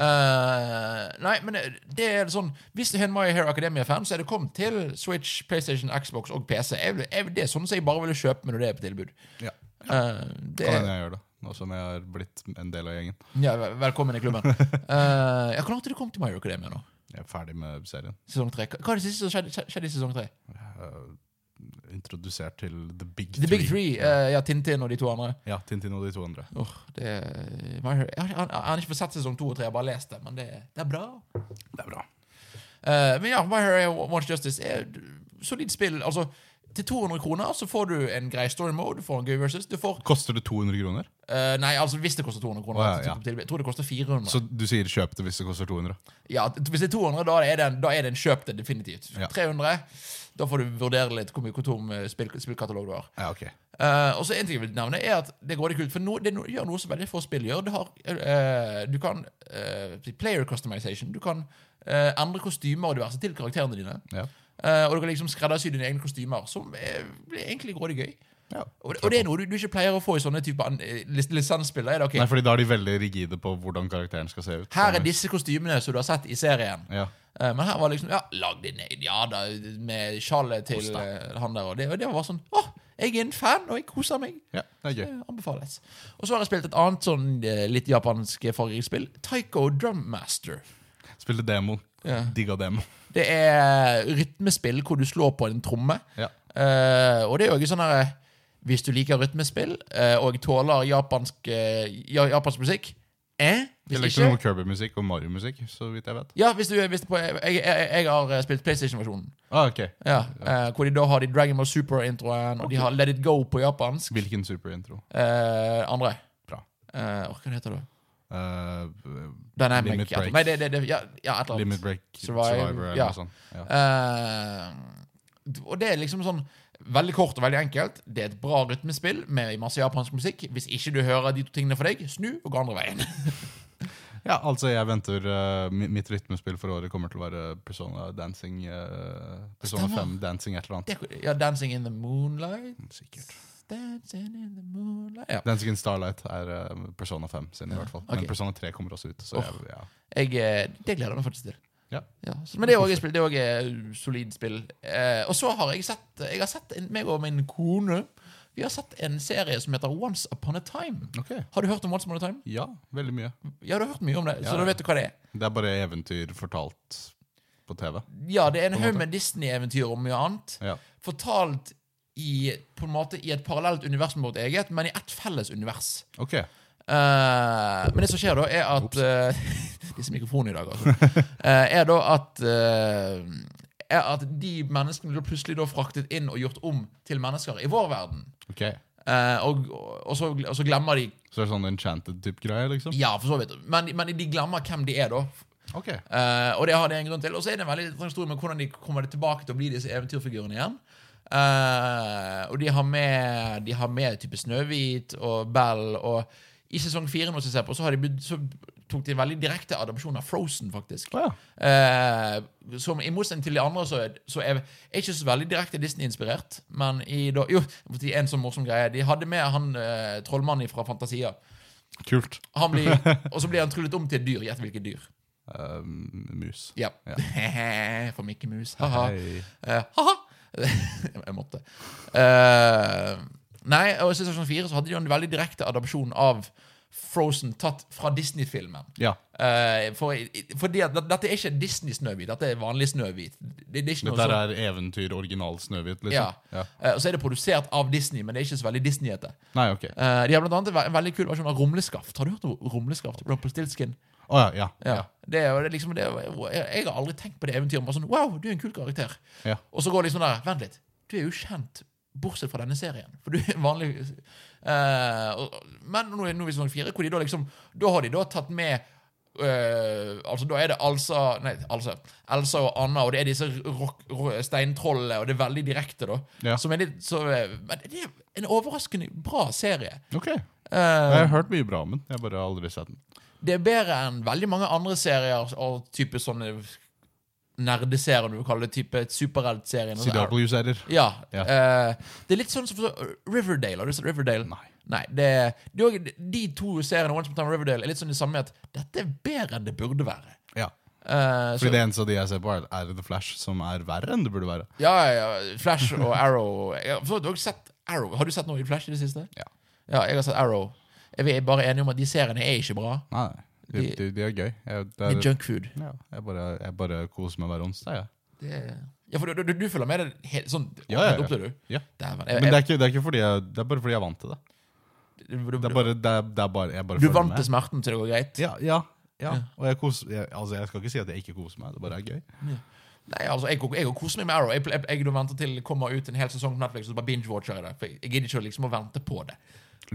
[SPEAKER 1] *laughs* Eh, nei, men det, det er sånn Hvis du er en My Hero Academia-fan, så er det kommet til Switch, PlayStation, Xbox og PC. Jeg, vil- jeg, det er sånn som jeg bare ville kjøpe meg når det er på tilbud.
[SPEAKER 2] Ja.
[SPEAKER 1] Eh, det
[SPEAKER 2] Kan hende
[SPEAKER 1] er,
[SPEAKER 2] jeg gjør det, nå som jeg har blitt en del av gjengen.
[SPEAKER 1] ja, vel- velkommen i *laughs* klubben. Uh, ja, hvor langt er du kommet til My Hero Academia nå?
[SPEAKER 2] Jeg er ferdig med serien.
[SPEAKER 1] Sesong tre. Hva- Hva er det siste som skjedde, skjedde i sesong tre?
[SPEAKER 2] Introdusert til The Big
[SPEAKER 1] The
[SPEAKER 2] Three.
[SPEAKER 1] Big Three. eh, ja, Tintin og de to andre.
[SPEAKER 2] Ja, Tintin og de to andre.
[SPEAKER 1] Åh, det er, My Hero. Jeg, har, jeg, har, jeg har ikke fått sett sesong to og tre, jeg har bare lest det, men det, det er bra.
[SPEAKER 2] Det er bra.
[SPEAKER 1] Eh, men ja, My Hero Wants Justice er et solid spill. Altså, til 200 kroner så får du en grei story mode, du får en gøy versus. Du får
[SPEAKER 2] Koster det 200 kroner?
[SPEAKER 1] eh, Nei, altså hvis det koster 200 kroner.
[SPEAKER 2] Å, ja,
[SPEAKER 1] altså,
[SPEAKER 2] ja.
[SPEAKER 1] på tilbud. Jeg tror det koster 400.
[SPEAKER 2] Så du sier kjøp det hvis det koster 200?
[SPEAKER 1] Ja, t- Hvis det er 200, da er det en, da er det en kjøp det, definitivt.
[SPEAKER 2] Ja.
[SPEAKER 1] 300, da får du vurdere litt hvor mye hvor tom eh, spill, spillkatalog du har.
[SPEAKER 2] Ja, ok.
[SPEAKER 1] Eh, og så en ting jeg vil nevne er at Det går litt kult, for no, det no, gjør noe som veldig få spill gjør. Det har, eh, du kan eh, Player customization. Du kan eh, endre kostymer og diverse til karakterene dine.
[SPEAKER 2] Ja.
[SPEAKER 1] Eh, og du kan liksom skreddersy dine egne kostymer, som er, blir egentlig grådig gøy.
[SPEAKER 2] Ja.
[SPEAKER 1] Og, og det er noe du, du ikke pleier å få i sånne type an- eh, lis- lisensspill. da Er det ok?
[SPEAKER 2] Nei, fordi da er de veldig rigide på hvordan karakteren skal se ut.
[SPEAKER 1] Her er disse kostymene som du har sett i serien.
[SPEAKER 2] Ja.
[SPEAKER 1] Eh, men her var liksom Ja, lag din egen Ja da, med sjalet til eh, han der. Og det, og det var sånn Å, jeg er en fan, og jeg koser meg.
[SPEAKER 2] ja, det er gøy.
[SPEAKER 1] Eh, Anbefales. Og så har jeg spilt et annet sånn eh, litt japansk fargeriksspill. Taiko Drummaster.
[SPEAKER 2] Spille demon.
[SPEAKER 1] Ja.
[SPEAKER 2] Digga demon.
[SPEAKER 1] Det er rytmespill hvor du slår på en tromme.
[SPEAKER 2] Ja.
[SPEAKER 1] Eh, og det er jo ikke sånn her eh, Hvis du liker rytmespill eh, og tåler japansk, eh, ja, japansk musikk eh,
[SPEAKER 2] Jeg
[SPEAKER 1] Hvis
[SPEAKER 2] likte noe
[SPEAKER 1] ikke
[SPEAKER 2] Kirby-musikk og Mario-musikk, så vidt jeg vet.
[SPEAKER 1] ja, hvis du, hvis på, jeg, jeg, jeg har eh, spilt PlayStation-versjonen.
[SPEAKER 2] Ah, ok.
[SPEAKER 1] Ja, eh, hvor de da har de Dragon Ball Super-introen, og de har Let It Go på japansk.
[SPEAKER 2] Hvilken superintro?
[SPEAKER 1] Eh, andre.
[SPEAKER 2] Bra.
[SPEAKER 1] Eh, åh, hva heter det?
[SPEAKER 2] Eh,
[SPEAKER 1] Dynamic
[SPEAKER 2] Limit Break.
[SPEAKER 1] Nei, det, det, det, ja, ja, et eller annet.
[SPEAKER 2] Limit Break
[SPEAKER 1] Survive-
[SPEAKER 2] Survivor, eller
[SPEAKER 1] ja.
[SPEAKER 2] noe sånt. Ja.
[SPEAKER 1] Eh, og det er liksom sånn Veldig kort og veldig enkelt. Det er et bra rytmespill med masse japansk musikk. Hvis ikke du hører de to tingene for deg, snu og gå andre veien. *laughs*
[SPEAKER 2] ja, altså, jeg venter eh, mi- Mitt rytmespill for året kommer til å være Persona Dancing eh, Persona
[SPEAKER 1] Stemmer.
[SPEAKER 2] 5 Dancing et eller annet.
[SPEAKER 1] Det, ja, 'Dancing in the Moonlight'.
[SPEAKER 2] Sikkert.
[SPEAKER 1] Dancing in the moonlight ja.
[SPEAKER 2] Dancing in Starlight er eh, Persona 5 sin, i hvert fall.
[SPEAKER 1] ok.
[SPEAKER 2] Men Persona 3 kommer også ut. Så
[SPEAKER 1] Åh.
[SPEAKER 2] jeg, ja.
[SPEAKER 1] jeg, eh, Det gleder jeg meg faktisk til.
[SPEAKER 2] Ja.
[SPEAKER 1] så, men det er også et spill, det er også eh, solid spill. Eh, og så har jeg sett Jeg har sett en, meg og min kone Vi har sett en serie som heter Once Upon a Time.
[SPEAKER 2] Ok.
[SPEAKER 1] Har du hørt om Once Upon a Time?
[SPEAKER 2] Ja, veldig mye.
[SPEAKER 1] Ja, du har hørt mye om det,
[SPEAKER 2] Ja.
[SPEAKER 1] så da vet du hva det er.
[SPEAKER 2] Det er bare eventyr fortalt på TV.
[SPEAKER 1] Ja, det er en
[SPEAKER 2] en
[SPEAKER 1] haug
[SPEAKER 2] måte.
[SPEAKER 1] med Disney-eventyr og mye annet.
[SPEAKER 2] Ja.
[SPEAKER 1] Fortalt i, på en måte, i et parallelt univers med vårt eget, men i ett felles univers.
[SPEAKER 2] Ok.
[SPEAKER 1] Eh, men det som skjer da, er at eh, *laughs* Disse mikrofonene i dag, altså. Eh, er da at eh, Er at de menneskene blir plutselig da fraktet inn og gjort om til mennesker i vår verden.
[SPEAKER 2] ok.
[SPEAKER 1] Eh, og, og, så, og så glemmer de
[SPEAKER 2] Så det er sånn enchanted-type greie, liksom?
[SPEAKER 1] Ja, for så vidt. Men, men de glemmer hvem de er, da.
[SPEAKER 2] Ok.
[SPEAKER 1] Eh, og det har det en grunn til. Og så er det en veldig interessant historie med hvordan de kommer tilbake til å bli disse eventyrfigurene igjen. Eh, og de har med De har med type Snøhvit og Bell. Og i sesong fire nå som jeg ser på, så, har de, begynt- så tok de en veldig direkte adopsjon av Frozen, faktisk.
[SPEAKER 2] Å ja.
[SPEAKER 1] Eh, som I motsetning til de andre så er, så er jeg ikke så veldig direkte Disney-inspirert. Men i da, jo, jeg må si en sånn morsom greie. De hadde med han eh, trollmannen fra Fantasia.
[SPEAKER 2] Kult.
[SPEAKER 1] Han blir, og så blir han tryllet om til et dyr. Gjett hvilket dyr.
[SPEAKER 2] Eh, mus.
[SPEAKER 1] Ja.
[SPEAKER 2] Ja.
[SPEAKER 1] *laughs* For Mikke Mus. Ha-ha.
[SPEAKER 2] Hei.
[SPEAKER 1] Eh, ha-ha. *laughs* jeg måtte. Eh, nei, og i sesong fire så hadde de jo en veldig direkte adopsjon av Frozen tatt fra Disney-filmen.
[SPEAKER 2] Ja.
[SPEAKER 1] Eh, for, fordi at Dette er ikke Disney-Snøhvit, dette er vanlig Snøhvit. Det, det er ikke noe
[SPEAKER 2] Dette
[SPEAKER 1] sånn-
[SPEAKER 2] er eventyr original Snøhvit, liksom?
[SPEAKER 1] Ja. Eh, og så er det produsert av Disney, men det er ikke så veldig Disney-ete.
[SPEAKER 2] Nei, ok. Å
[SPEAKER 1] Eh, de har blant annet en ve- en veldig kul versjon av Rumleskaft. Har du hørt om Rumleskaft? Rumpelstiltskin?
[SPEAKER 2] ja. Ja.
[SPEAKER 1] Ja. Det er jo det er liksom, det er, jo- jeg, jeg har aldri tenkt på det eventyret. Bare sånn, wow, du er en kul karakter.
[SPEAKER 2] Ja.
[SPEAKER 1] Og så går det liksom der, vent litt, du er jo kjent bortsett fra denne serien. For du er vanlig... Eh, og, men nå er nå er vi i sesong fire, hvor de da liksom, da har de da tatt med eh, altså Da er det Alsa Nei, Alsa Elsa og Anna, og det er disse rock, ro- steintrollene, og det er veldig direkte, da.
[SPEAKER 2] Ja.
[SPEAKER 1] Som er litt så eh, Men det er en overraskende bra serie.
[SPEAKER 2] Ok.
[SPEAKER 1] Eh,
[SPEAKER 2] Jeg har hørt mye bra om den. Jeg har bare aldri sett den.
[SPEAKER 1] det er bedre enn veldig mange andre serier og type sånne nerdeserier, om du vil kalle det, type superheltserier. og sånn.
[SPEAKER 2] CW-serier.
[SPEAKER 1] Ja.
[SPEAKER 2] Ja.
[SPEAKER 1] eh, det er litt sånn som for så- Riverdale. Har du sett Riverdale?
[SPEAKER 2] Nei.
[SPEAKER 1] det, de, og- de to seriene Once Upon a Time Riverdale er litt sånn det samme med at dette er bedre enn det burde være.
[SPEAKER 2] Ja.
[SPEAKER 1] Eh, så,
[SPEAKER 2] Fordi det eneste av de jeg ser på, er, er The Flash, som er verre enn det burde være.
[SPEAKER 1] ja, ja, ja, Flash og Arrow. Jeg har, for så vidt også sett Arrow. har du sett noe i Flash i det siste?
[SPEAKER 2] Ja.
[SPEAKER 1] Ja, jeg har sett Arrow. Er Vi er bare enige om at de seriene er ikke bra.
[SPEAKER 2] Nei, de,
[SPEAKER 1] De-
[SPEAKER 2] de, de er gøy. Jeg, det
[SPEAKER 1] Det er
[SPEAKER 2] er,
[SPEAKER 1] junkfood.
[SPEAKER 2] ja, jeg, bare, jeg bare koser meg hver onsdag, jeg.
[SPEAKER 1] Det er, ja, for du, du, du følger med det helt sånn
[SPEAKER 2] Ja, ja, ja.
[SPEAKER 1] opp til du?
[SPEAKER 2] Ja.
[SPEAKER 1] Dæven.
[SPEAKER 2] Men det er, ikke, det er ikke fordi jeg Det er bare fordi jeg er vant til det.
[SPEAKER 1] du, du,
[SPEAKER 2] Det er bare, det er, det er bare Jeg bare
[SPEAKER 1] du
[SPEAKER 2] følger
[SPEAKER 1] vant
[SPEAKER 2] med.
[SPEAKER 1] til smerten til det går greit?
[SPEAKER 2] Ja, ja, ja. Og jeg, koser, jeg, altså, jeg skal ikke si at jeg ikke koser meg, det bare er gøy.
[SPEAKER 1] Nei, altså, jeg, jeg, jeg koser meg med Arrow. Jeg, jeg, jeg, jeg venter til det kommer ut en hel sesong på Netflix og så bare binge-watcher jeg det. For jeg, jeg gidder ikke å liksom å vente på det.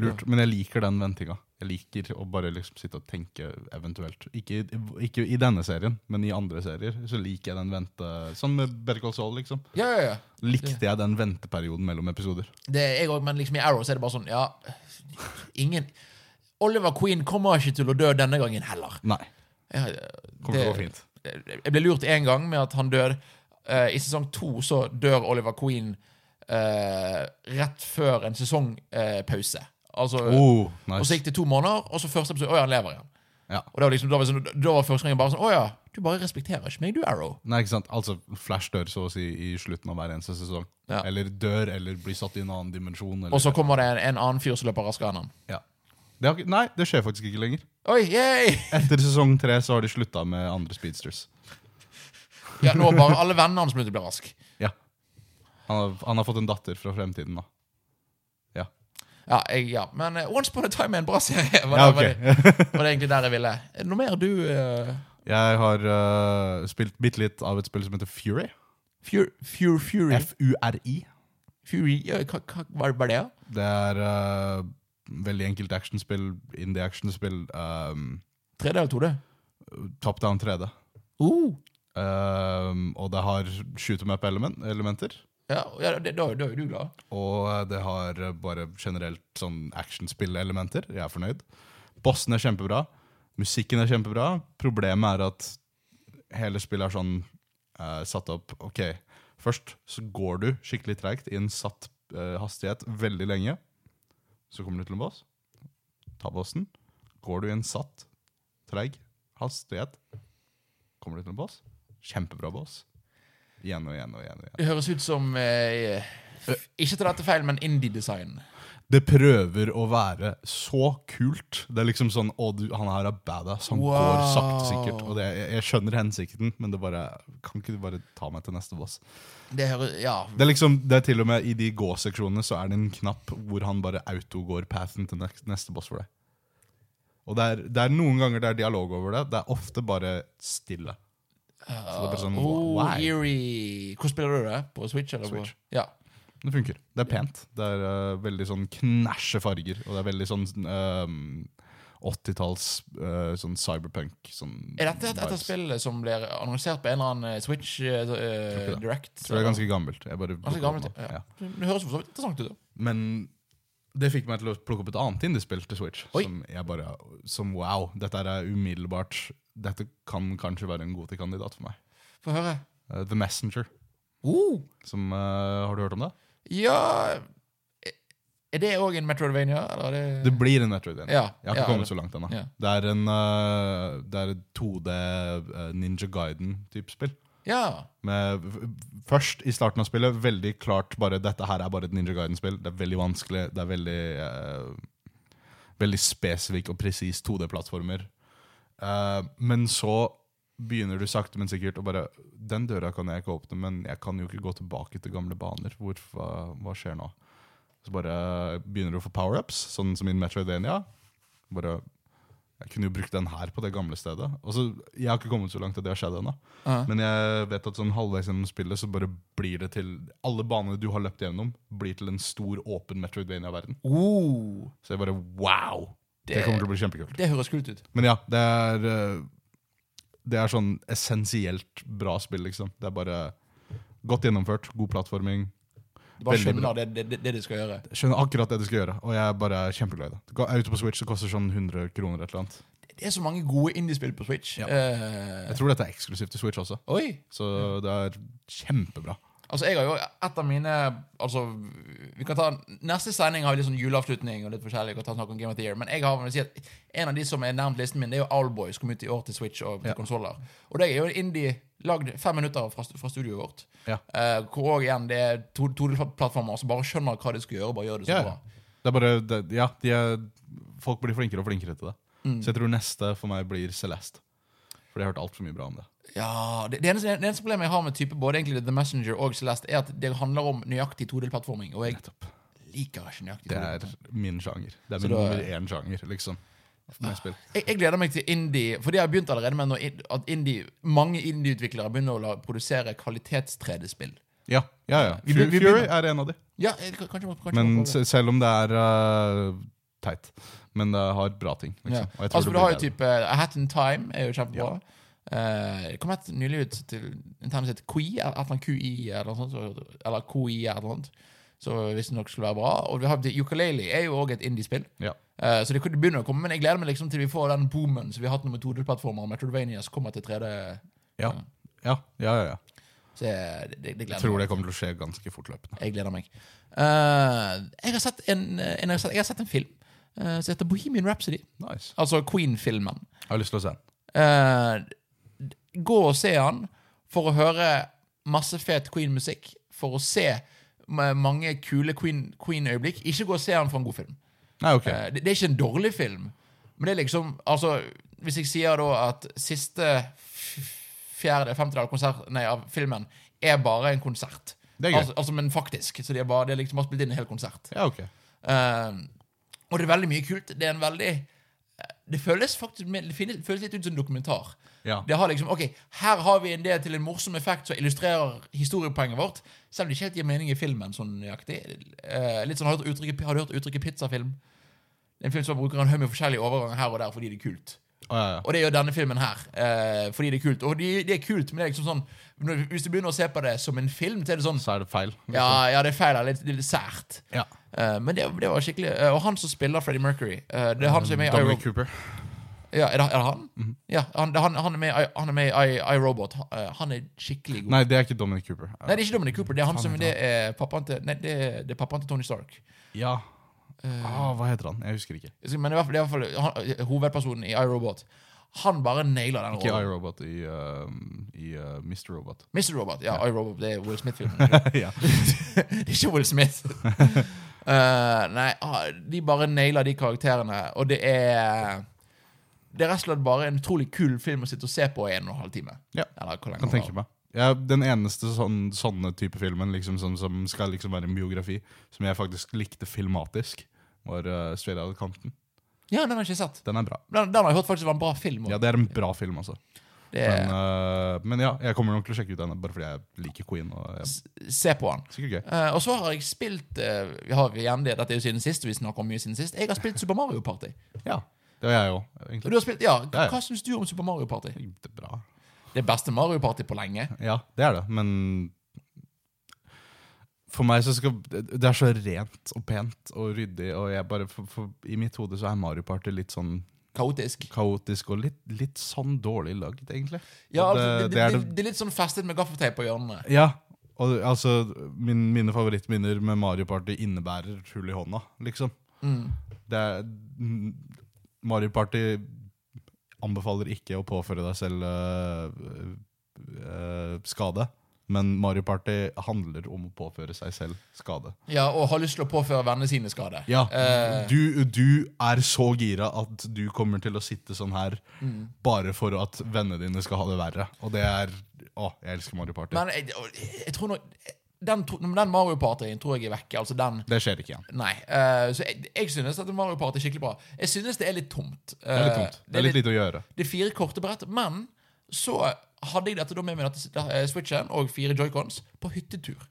[SPEAKER 2] Lurt, Men jeg liker den ventinga. Jeg liker å bare liksom sitte og tenke eventuelt. Ikke, ikke i denne serien, men i andre serier. Så liker jeg den vente... Sånn med Better Call Saul, liksom.
[SPEAKER 1] Ja, ja, ja.
[SPEAKER 2] Likte jeg den venteperioden mellom episoder.
[SPEAKER 1] Det er jeg også, men liksom i Arrow så er det bare sånn, ja Ingen Oliver Queen kommer ikke til å dø denne gangen heller.
[SPEAKER 2] Nei.
[SPEAKER 1] Ja,
[SPEAKER 2] Kommer til å gå fint.
[SPEAKER 1] Jeg ble lurt én gang med at han dør. Eh, I sesong to så dør Oliver Queen eh, rett før en sesongpause. altså,
[SPEAKER 2] Oh,
[SPEAKER 1] Og så
[SPEAKER 2] nice.
[SPEAKER 1] gikk det to måneder, og så første episode Å ja, han lever igjen.
[SPEAKER 2] Ja.
[SPEAKER 1] Og da var, liksom, da var, det sånn, da var første gangen bare sånn Å ja, du bare respekterer ikke meg, du, Arrow.
[SPEAKER 2] Nei, ikke sant? Altså, Flash dør så å si i slutten av hver eneste sesong.
[SPEAKER 1] Ja.
[SPEAKER 2] Eller dør, eller blir satt i en annen dimensjon. Eller,
[SPEAKER 1] Og så kommer det en, en annen fyr som løper raskere enn han.
[SPEAKER 2] ja. det har, ikke- nei, det skjer faktisk ikke lenger.
[SPEAKER 1] Oi, yay!
[SPEAKER 2] Etter sesong tre så har de slutta med andre speedsters.
[SPEAKER 1] Ja, nå har bare alle vennene hans begynt å bli rask.
[SPEAKER 2] Ja. Han har, han har fått en datter fra fremtiden, da. Ja.
[SPEAKER 1] Ja, jeg, ja. Men eh, Once Upon a Time er en bra serie. *laughs* Var det,
[SPEAKER 2] Ja,
[SPEAKER 1] var, det, var det egentlig der jeg ville? Er det noe mer du eh,
[SPEAKER 2] Jeg har øh, spilt bitte litt av et spill som heter Fury.
[SPEAKER 1] Fur, Fur, Fury?
[SPEAKER 2] F-U-R-I.
[SPEAKER 1] Fury ja, hva, hva, hva var det? ja?
[SPEAKER 2] Det er øh, veldig enkelt actionspill, indie-actionspill. øhm,
[SPEAKER 1] 3D eller 2D?
[SPEAKER 2] top down 3D. Oh.
[SPEAKER 1] Uh.
[SPEAKER 2] Øhm, og det har shoot em up-elementer.
[SPEAKER 1] Ja, ja det, da, da er jo du glad.
[SPEAKER 2] Og det har øh, bare generelt sånn actionspill-elementer. Jeg er fornøyd. Bossen er kjempebra. Musikken er kjempebra. Problemet er at hele spillet er sånn eh, satt opp Ok, først så går du skikkelig treigt i en satt eh, hastighet veldig lenge. Så kommer du til en boss. Ta bossen. Går du i en satt, treig hastighet, kommer du til en boss. Kjempebra boss. Igjen og igjen og igjen. og igjen.
[SPEAKER 1] Det høres ut som eh, Ikke til dette feil, men indie-design.
[SPEAKER 2] Det prøver å være så kult. Det er liksom sånn Å, du, han her er badass. Han går
[SPEAKER 1] Wow.
[SPEAKER 2] sakte, sikkert. Og det, jeg, jeg skjønner hensikten, men det bare Kan ikke du bare ta meg til neste boss?
[SPEAKER 1] Det høres, ja
[SPEAKER 2] Det er liksom, det er til og med I de gå-seksjonene så er det en knapp hvor han bare autogår pathen til nek- neste boss for deg. Og det er, det er noen ganger det er dialog over det. Det er ofte bare stille. Så det er bare sånn
[SPEAKER 1] Oh,
[SPEAKER 2] Why?
[SPEAKER 1] eerie. Hvor spiller du det? På Switch? Eller
[SPEAKER 2] Switch.
[SPEAKER 1] På? Ja.
[SPEAKER 2] Det funker. Det er pent. Det er øh, veldig sånn knæsje farger, og det er veldig sånn øhm, 80-talls øh, sånn cyberpunk sånn
[SPEAKER 1] Er dette et, et av
[SPEAKER 2] vibes.
[SPEAKER 1] spillene som blir annonsert på en eller annen eh, Switch eh, eh,
[SPEAKER 2] det.
[SPEAKER 1] Direct?
[SPEAKER 2] Jeg tror det er ganske gammelt. Jeg bare
[SPEAKER 1] Ganske gammelt, ja.
[SPEAKER 2] Ja.
[SPEAKER 1] Det høres for så vidt interessant ut. da.
[SPEAKER 2] Men det fikk meg til å plukke opp et annet indiespill til Switch.
[SPEAKER 1] Oi.
[SPEAKER 2] Som jeg bare, som wow, dette er umiddelbart Dette kan kanskje være en god til kandidat for meg.
[SPEAKER 1] Få høre.
[SPEAKER 2] Eh, The Messenger.
[SPEAKER 1] Oh,
[SPEAKER 2] Som, eh, har du hørt om det?
[SPEAKER 1] ja Er det òg en Metroidvania? Eller er det,
[SPEAKER 2] Det blir en Metroidvania.
[SPEAKER 1] Ja,
[SPEAKER 2] jeg har ikke
[SPEAKER 1] ja,
[SPEAKER 2] kommet
[SPEAKER 1] det-
[SPEAKER 2] så langt ennå.
[SPEAKER 1] ja.
[SPEAKER 2] Det er en eh, Det er et 2D eh, Ninja Guiden-type spill.
[SPEAKER 1] Ja.
[SPEAKER 2] Med, f- først i starten av spillet, veldig klart bare Dette her er bare et Ninja Guiden-spill. Det er veldig vanskelig. Det er veldig eh, veldig spesifikk og presis 2D-plattformer. Eh, men så begynner du sakte, men sikkert å bare Den døra kan jeg ikke åpne, men jeg kan jo ikke gå tilbake til gamle baner. Hvor, hva, hva skjer nå? Så bare eh, begynner du å få power-ups, sånn som i Metroidvania. Bare, jeg kunne jo brukt den her på det gamle stedet. Og så, jeg har ikke kommet så langt at det har skjedd ennå.
[SPEAKER 1] Ja.
[SPEAKER 2] Men jeg vet at sånn halvveis gjennom spillet så bare blir det til Alle banene du har løpt gjennom, blir til en stor, åpen Metroidvania-verden.
[SPEAKER 1] Oh,
[SPEAKER 2] Så jeg bare wow! Det,
[SPEAKER 1] Det-
[SPEAKER 2] kommer til å bli kjempekult.
[SPEAKER 1] det høres kult ut.
[SPEAKER 2] Men ja, det er eh, Det er sånn essensielt bra spill, liksom. Det er bare godt gjennomført, god plattforming.
[SPEAKER 1] Du bare
[SPEAKER 2] Veldig bra.
[SPEAKER 1] skjønner det, det, det, det du skal gjøre.
[SPEAKER 2] Jeg skjønner akkurat det du skal gjøre, og jeg er bare kjempeglad i det. Ga- Ute på Switch så koster sånn 100 kroner et eller annet.
[SPEAKER 1] Det er så mange gode indiespill på Switch.
[SPEAKER 2] Ja.
[SPEAKER 1] Eh,
[SPEAKER 2] Jeg tror dette er eksklusivt til Switch også,
[SPEAKER 1] oi!
[SPEAKER 2] så det er kjempebra.
[SPEAKER 1] Altså, jeg har jo et av mine Altså, vi kan ta Neste sending har vi litt sånn juleavslutning og litt forskjellig. Vi kan ta snakk om Game of the Year Men jeg har vel si at en av de som er nærmt listen min, Det er jo Owlboy, som kom ut i år til Switch og til
[SPEAKER 2] Ja.
[SPEAKER 1] konsoller. Og det er jo en indie lagd fem minutter fra, fra studioet vårt.
[SPEAKER 2] Ja.
[SPEAKER 1] Eh, hvor òg igjen det er to, to plattformer som bare skjønner hva de skal gjøre, og bare gjør det så
[SPEAKER 2] Ja.
[SPEAKER 1] bra.
[SPEAKER 2] Det er bare, det, ja, de er, folk blir flinkere og flinkere til det.
[SPEAKER 1] Mm.
[SPEAKER 2] Så jeg tror neste for meg blir Celeste. For jeg har hørt altfor mye bra om det.
[SPEAKER 1] Ja, det, det, eneste, det eneste problemet jeg har med type både egentlig The Messenger og Celeste, er at det handler om nøyaktig todelplattforming. Og jeg
[SPEAKER 2] Nettopp.
[SPEAKER 1] liker ikke nøyaktig
[SPEAKER 2] Det er
[SPEAKER 1] todelplattforming.
[SPEAKER 2] min sjanger. Det er
[SPEAKER 1] Så
[SPEAKER 2] min
[SPEAKER 1] da- ah.
[SPEAKER 2] nummer én sjanger, liksom. For meg spill.
[SPEAKER 1] Jeg, jeg gleder meg til indie, for det har jeg begynt allerede med når in- at indie, mange indieutviklere begynner å la, produsere kvalitets-3D-spill.
[SPEAKER 2] Ja, ja, ja.
[SPEAKER 1] Vi
[SPEAKER 2] Fury,
[SPEAKER 1] begynner- vi
[SPEAKER 2] Fury
[SPEAKER 1] begynner.
[SPEAKER 2] er en av de.
[SPEAKER 1] Ja, jeg- kanskje, kanskje
[SPEAKER 2] Men
[SPEAKER 1] kanskje-
[SPEAKER 2] se- selv om det er øh, teit. Men det har bra ting. Liksom.
[SPEAKER 1] ja.
[SPEAKER 2] Og jeg
[SPEAKER 1] Altså,
[SPEAKER 2] tror det
[SPEAKER 1] for Du har
[SPEAKER 2] blir
[SPEAKER 1] jo
[SPEAKER 2] bedre.
[SPEAKER 1] type eh, A Hat in Time, er jo kjempebra. Eh, Det kom et nylig ut til Nintendo sitt QI, eller et eller annet QI, eller noe sånt. så- Eller QI, eller noe sånt. Så visstnok skulle være bra. Og vi har Ukulele er jo òg et indie-spill.
[SPEAKER 2] Ja.
[SPEAKER 1] Eh, Så det kunne begynne å komme, men jeg gleder meg liksom til vi får den boomen som vi har hatt nå med 2D-plattformer, Metroidvania som kommer til 3D.
[SPEAKER 2] Ja. Ja, ja, ja, ja.
[SPEAKER 1] Så jeg- det, det, det gleder
[SPEAKER 2] Jeg tror det kommer til å skje ganske fortløpende.
[SPEAKER 1] Jeg gleder meg. Eh, jeg, har sett en, en, jeg, har sett, jeg har sett en film eh, som heter Bohemian Rhapsody.
[SPEAKER 2] Nice.
[SPEAKER 1] Altså Queen-filmen.
[SPEAKER 2] Jeg har lyst til å se den.
[SPEAKER 1] Eh, d- gå og se han for å høre masse fet Queen-musikk. For å se ma- mange kule Queen- Queen-øyeblikk. ikke gå og se han for en god film.
[SPEAKER 2] Nei, ok.
[SPEAKER 1] Eh, det, det er ikke en dårlig film, men det er liksom Altså, hvis jeg sier da at siste f- fjerde, femtedel av, konsert- nei, av filmen er bare en konsert
[SPEAKER 2] Det er gøy.
[SPEAKER 1] Altså, altså, men faktisk. Så de har bare, de har liksom bare spilt inn en hel konsert.
[SPEAKER 2] Ja, ok.
[SPEAKER 1] Eh, og det er veldig mye kult. Det er en veldig eh, Det føles faktisk mer- det finnes- føles litt ut som en dokumentar.
[SPEAKER 2] Ja.
[SPEAKER 1] Det har liksom, ok, Her har vi en del til en morsom effekt som illustrerer historiepoenget vårt. Selv om det ikke helt gir mening i filmen. sånn nøyaktig. Eh, litt sånn, Har du hørt uttrykket, har du hørt uttrykket pizzafilm? Det er En film som bruker en haug med forskjellige overganger her og der fordi det er kult.
[SPEAKER 2] Å, ja, ja.
[SPEAKER 1] Og det gjør denne filmen her. eh, fordi det er kult. Og det, det er kult, men det er liksom sånn, når- hvis du begynner å se på det som en film, så er det sånn
[SPEAKER 2] Så er det feil. liksom.
[SPEAKER 1] Ja, ja det er feil. Det er litt, det er litt sært.
[SPEAKER 2] ja.
[SPEAKER 1] Eh, men det, det var skikkelig eh, Og han som spiller Freddie Mercury eh, Det er han som er med i I, Robot
[SPEAKER 2] Dominic Cooper.
[SPEAKER 1] ja, er, det, er det han? Ja, han, det er han, han er med, i- han er med i I, I Robot. Eh, han er skikkelig god. Nei.
[SPEAKER 2] Nei, det er ikke Dominic Cooper.
[SPEAKER 1] det er ikke Dominic Cooper. Det er han som det er pappaen til Nei, det er, det er pappaen til Tony Stark.
[SPEAKER 2] Ja.
[SPEAKER 1] Eh.
[SPEAKER 2] ah, hva heter han? Jeg husker ikke.
[SPEAKER 1] Jeg skal- Men i hvert fall, det er i hvert fall han, eh, hovedpersonen i I Robot. Han bare nailer den
[SPEAKER 2] Ikke
[SPEAKER 1] rollen.
[SPEAKER 2] iRobot i, um, i uh, Mr. Robot.
[SPEAKER 1] Mr. Robot. Ja, I Robot. Det er Will Smith-filmen.
[SPEAKER 2] *laughs* ja.
[SPEAKER 1] det er ikke Will *laughs* Smith. Eh, nei, ah, de bare nailer de karakterene, og det er Det er rett og slett bare en utrolig kul film å sitte og se på i en og en halv time.
[SPEAKER 2] Ja.
[SPEAKER 1] Eller hvor lenge
[SPEAKER 2] Kan
[SPEAKER 1] den
[SPEAKER 2] tenke
[SPEAKER 1] var.
[SPEAKER 2] meg. Ja, den eneste sånn, sånne type filmen liksom, som, som skal liksom være en biografi, som jeg faktisk likte filmatisk, var uh, Straight Outta Compton.
[SPEAKER 1] Ja, den har jeg ikke sett.
[SPEAKER 2] Den er bra.
[SPEAKER 1] Den, den har jeg hørt faktisk var en bra film. og
[SPEAKER 2] Ja, det er en bra film, altså.
[SPEAKER 1] det
[SPEAKER 2] Men, uh, men ja, jeg kommer nok til å sjekke ut den, bare fordi jeg liker Queen. Og jeg,
[SPEAKER 1] s- se på den.
[SPEAKER 2] sikkert gøy.
[SPEAKER 1] Eh, og så har jeg spilt eh, vi har igjen det, Dette er jo siden sist, vi snakker om mye siden sist. Jeg har spilt Super Mario Party.
[SPEAKER 2] Ja, det var jeg òg, egentlig.
[SPEAKER 1] Og du har spilt, ja,
[SPEAKER 2] Ja,
[SPEAKER 1] Hva,
[SPEAKER 2] ja.
[SPEAKER 1] hva syns du om Super Mario Party?
[SPEAKER 2] Det er bra.
[SPEAKER 1] Det beste Mario Party på lenge.
[SPEAKER 2] Ja, det er det, men for meg så skal Det er så rent og pent og ryddig, og jeg bare for, for, I mitt hode så er Mario Party litt sånn
[SPEAKER 1] Kaotisk.
[SPEAKER 2] kaotisk og litt, litt sånn dårlig lagd, egentlig.
[SPEAKER 1] Ja,
[SPEAKER 2] Og
[SPEAKER 1] altså, det, det,
[SPEAKER 2] er
[SPEAKER 1] det, det er litt sånn festet med gaffelteip på hjørnene.
[SPEAKER 2] Ja. Og altså, min, mine favorittminner med Mario Party innebærer hull i hånda, liksom. Det er mm, Mario Party anbefaler ikke å påføre deg selv øh, øh, eh, skade. Men Mario Party handler om å påføre seg selv skade.
[SPEAKER 1] Ja, Og har lyst til å påføre vennene sine skade.
[SPEAKER 2] Ja,
[SPEAKER 1] Eh,
[SPEAKER 2] du, du er så gira at du kommer til å sitte sånn her
[SPEAKER 1] Mm.
[SPEAKER 2] bare for at vennene dine skal ha det verre. Og det er Å, jeg elsker Mario Party.
[SPEAKER 1] men jeg, jeg tror nå Den, tro- den Mario Partyen tror jeg er vekke. Altså den
[SPEAKER 2] det skjer ikke igjen.
[SPEAKER 1] Nei. eh, så jeg, jeg synes at Mario Party er skikkelig bra. Jeg synes det er litt tomt.
[SPEAKER 2] Det er litt tomt. Det er litt lite å gjøre.
[SPEAKER 1] Det Eh, er fire korte brett, men så hadde jeg dette da med meg dette eh, Switchen og fire joycons på hyttetur.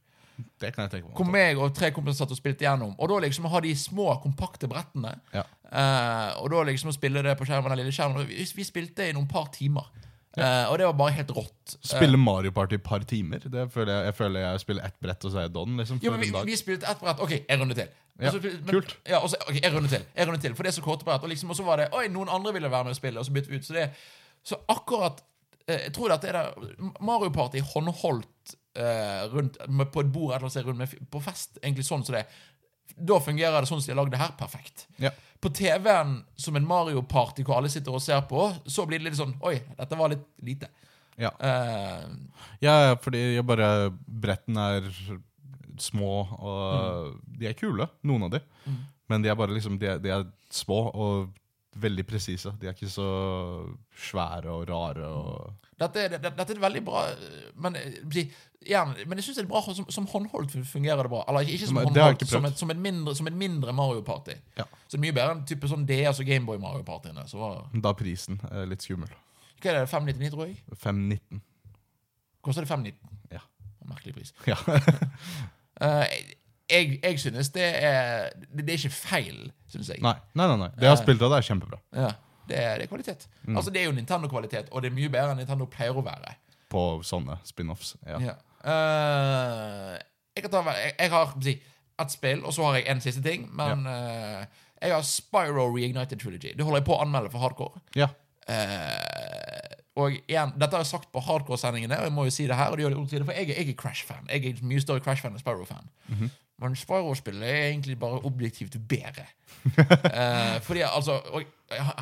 [SPEAKER 2] Det kan jeg tenke meg.
[SPEAKER 1] Kom meg og tre kompiser satt og spilte gjennom. Og da liksom å ha de små, kompakte brettene.
[SPEAKER 2] Ja.
[SPEAKER 1] eh, og da liksom å spille det på skjermen, den lille skjermen. og Vi, vi spilte i noen par timer. Eh, og det var bare helt rått.
[SPEAKER 2] Spille Mario Party et par timer. Det føler jeg, jeg føler jeg spiller ett brett, og så er jeg don. Liksom,
[SPEAKER 1] Jo,
[SPEAKER 2] for
[SPEAKER 1] men vi,
[SPEAKER 2] en dag.
[SPEAKER 1] vi spilte ett brett. OK, en runde til. Og
[SPEAKER 2] Ja,
[SPEAKER 1] så- men-
[SPEAKER 2] kult.
[SPEAKER 1] Ja, og så, ok, en runde til. En runde til. For det er så korte brett. Og liksom, og så var det Oi, noen andre ville være med og spille, og så bytte vi ut. Så, det, så akkurat eh, Jeg tror dette er det Mario Party håndholdt eh, rundt, med, på et bord et eller annet sted rundt, med, f- på fest, egentlig sånn som det er. Da fungerer det sånn som de har lagd det her, perfekt.
[SPEAKER 2] Ja.
[SPEAKER 1] På TV-en som en Mario Party hvor alle sitter og ser på, så blir det litt sånn Oi, dette var litt lite.
[SPEAKER 2] Ja.
[SPEAKER 1] Eh,
[SPEAKER 2] ja, ja, fordi jeg bare Brettene er små, og de er kule, noen av de. Men de er bare liksom De er, de er små og veldig presise. De er ikke så svære og rare og
[SPEAKER 1] Dette er, det- dette er et veldig bra øh, Men, øh, si, igjen, men jeg syns det er bra hå- som, som håndholdt fun- fungerer det bra. Eller ikke, ikke som
[SPEAKER 2] Men det har jeg
[SPEAKER 1] håndholdt,
[SPEAKER 2] ikke
[SPEAKER 1] som,
[SPEAKER 2] prøvd.
[SPEAKER 1] et, som, et mindre, som et mindre Mario Party.
[SPEAKER 2] Ja.
[SPEAKER 1] Så det er mye bedre enn type sånn DS og Gameboy Mario Partyene. Så var,
[SPEAKER 2] Da er prisen eh, litt skummel.
[SPEAKER 1] hva er det, 599, tror jeg?
[SPEAKER 2] 5,19.
[SPEAKER 1] Koster det 599?
[SPEAKER 2] Ja.
[SPEAKER 1] Merkelig pris.
[SPEAKER 2] *laughs* Ja.
[SPEAKER 1] Eh, jeg, jeg synes det er Det, det er ikke feil, synes jeg.
[SPEAKER 2] Nei, nei, nei, nei. Det jeg har spilt av, det er kjempebra.
[SPEAKER 1] Ja, det, er, det er kvalitet.
[SPEAKER 2] Mm.
[SPEAKER 1] Altså Det er jo Nintendo-kvalitet, og det er mye bedre enn Nintendo pleier å være.
[SPEAKER 2] På sånne spin-offs. Ja.
[SPEAKER 1] Ja. Eh, jeg, kan ta, hver- jeg, jeg har si, et spill, og så har jeg en siste ting. Men eh, jeg har Spyro Reignited Trilogy. Det holder jeg på å anmelde for hardcore.
[SPEAKER 2] Ja.
[SPEAKER 1] Eh, og igjen, Dette har jeg sagt på hardcore-sendingene, og jeg må jo si det her. Og det gjør det vondt å si det, for jeg, er- jeg er Crash-fan. Jeg er mye større Crash-fan enn Spyro-fan. Men Spyro-spillet er egentlig bare objektivt bedre. Eh, fordi altså og,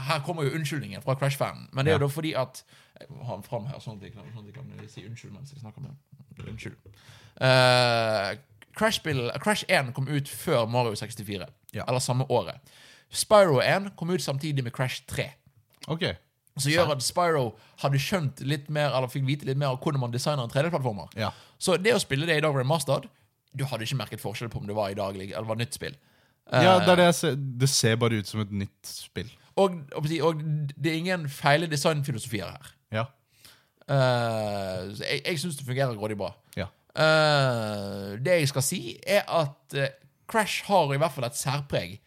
[SPEAKER 1] Her kommer jo unnskyldningen fra Crash-fanen. Men det er jo da fordi at Jeg må ha den fram her, sånn at jeg kan, sånn at jeg kan si unnskyld mens jeg snakker med den. Unnskyld. Eh, Crash-spill- Crash 1 kom ut før Mario 64.
[SPEAKER 2] Ja.
[SPEAKER 1] Eller samme året. Spyro 1 kom ut samtidig med Crash 3.
[SPEAKER 2] Ok.
[SPEAKER 1] Som gjør at Spyro hadde skjønt litt mer Eller fikk vite litt mer om hvordan man designer en 3D-plattformer.
[SPEAKER 2] Ja.
[SPEAKER 1] Så det å spille det i dag remastered Du hadde ikke merket forskjell på om det var i dag eller var nytt spill.
[SPEAKER 2] ja, det er det jeg ser. Det ser bare ut som et nytt spill.
[SPEAKER 1] Og, og, og det er ingen feile designfilosofier her.
[SPEAKER 2] Ja.
[SPEAKER 1] Eh, så jeg jeg syns det fungerer grådig bra.
[SPEAKER 2] Ja.
[SPEAKER 1] Eh, det jeg skal si, er at eh, Crash har i hvert fall et særpreg.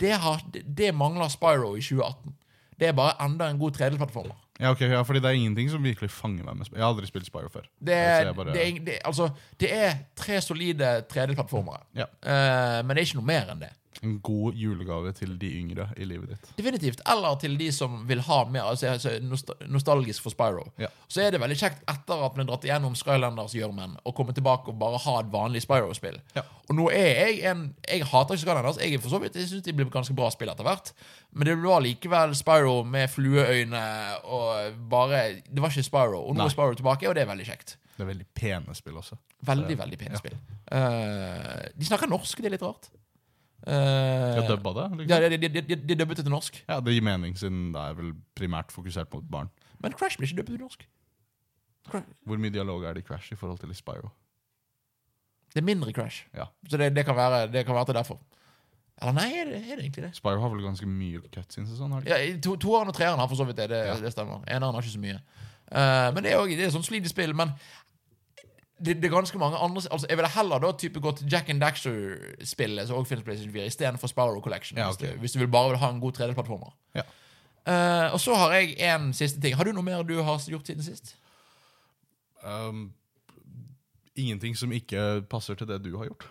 [SPEAKER 1] Det, har, det- det mangler Spyro i 2018. Det er bare enda en god 3D-plattformer.
[SPEAKER 2] Ja, ok, ja, fordi det er ingenting som virkelig fanger meg med spill. Jeg har aldri spilt Spyro før.
[SPEAKER 1] Det
[SPEAKER 2] Så
[SPEAKER 1] er,
[SPEAKER 2] jeg bare-
[SPEAKER 1] det, er, det, altså, det er tre solide 3D-plattformere.
[SPEAKER 2] Ja.
[SPEAKER 1] Eh, men det er ikke noe mer enn det.
[SPEAKER 2] En god julegave til de yngre i livet ditt.
[SPEAKER 1] Definitivt. Eller til de som vil ha mer altså, er så nost nostalgisk for Spyro.
[SPEAKER 2] Ja.
[SPEAKER 1] Så er det veldig kjekt etter at man har dratt igjennom Skylanders-gjørmen og komme tilbake og bare ha et vanlig Spyro-spill.
[SPEAKER 2] Ja.
[SPEAKER 1] Og nå er jeg en Jeg hater ikke Skylanders. Jeg er for så vidt, jeg syns de blir ganske bra spill etter hvert. Men det var likevel Spyro med flueøyne og bare Det var ikke Spyro. Og nå
[SPEAKER 2] Nei.
[SPEAKER 1] er Spyro tilbake, og det er veldig kjekt.
[SPEAKER 2] Det er veldig pene spill også.
[SPEAKER 1] Veldig, veldig pene spill. Eh, de snakker norsk, det er litt rart. Eh,
[SPEAKER 2] Jeg dubba det. Liksom.
[SPEAKER 1] ja, de, de, de, de, de dubbet det til norsk.
[SPEAKER 2] Ja, det gir mening, siden det er vel primært fokusert mot barn.
[SPEAKER 1] Men Crash blir ikke dubbet til norsk. Cra-
[SPEAKER 2] Hvor mye dialog er det i Crash i forhold til i Spyro?
[SPEAKER 1] Det er mindre Crash.
[SPEAKER 2] Ja.
[SPEAKER 1] Så det, det, kan være, det kan være til derfor. Eller nei, er det, er det egentlig det?
[SPEAKER 2] Spyro har vel ganske mye cutscenes og sånn? har det ikke?
[SPEAKER 1] Ja, i to, Toeren og treeren har for så vidt det. Det,
[SPEAKER 2] Ja.
[SPEAKER 1] det stemmer. Eneren har ikke så mye. Eh, men det er jo det er sånn solide spill. Men det, det er ganske mange andre Altså, Jeg ville heller da type gått Jack and Daxter-spillet som også finnes på PlayStation 4, istedenfor Sparrow Collection.
[SPEAKER 2] Ja,
[SPEAKER 1] hvis,
[SPEAKER 2] ok.
[SPEAKER 1] du, hvis du vil bare vil ha en god 3D-plattformer.
[SPEAKER 2] Ja.
[SPEAKER 1] Eh, og så har jeg en siste ting. Har du noe mer du har gjort siden sist?
[SPEAKER 2] Um, ingenting som ikke passer til det du har gjort.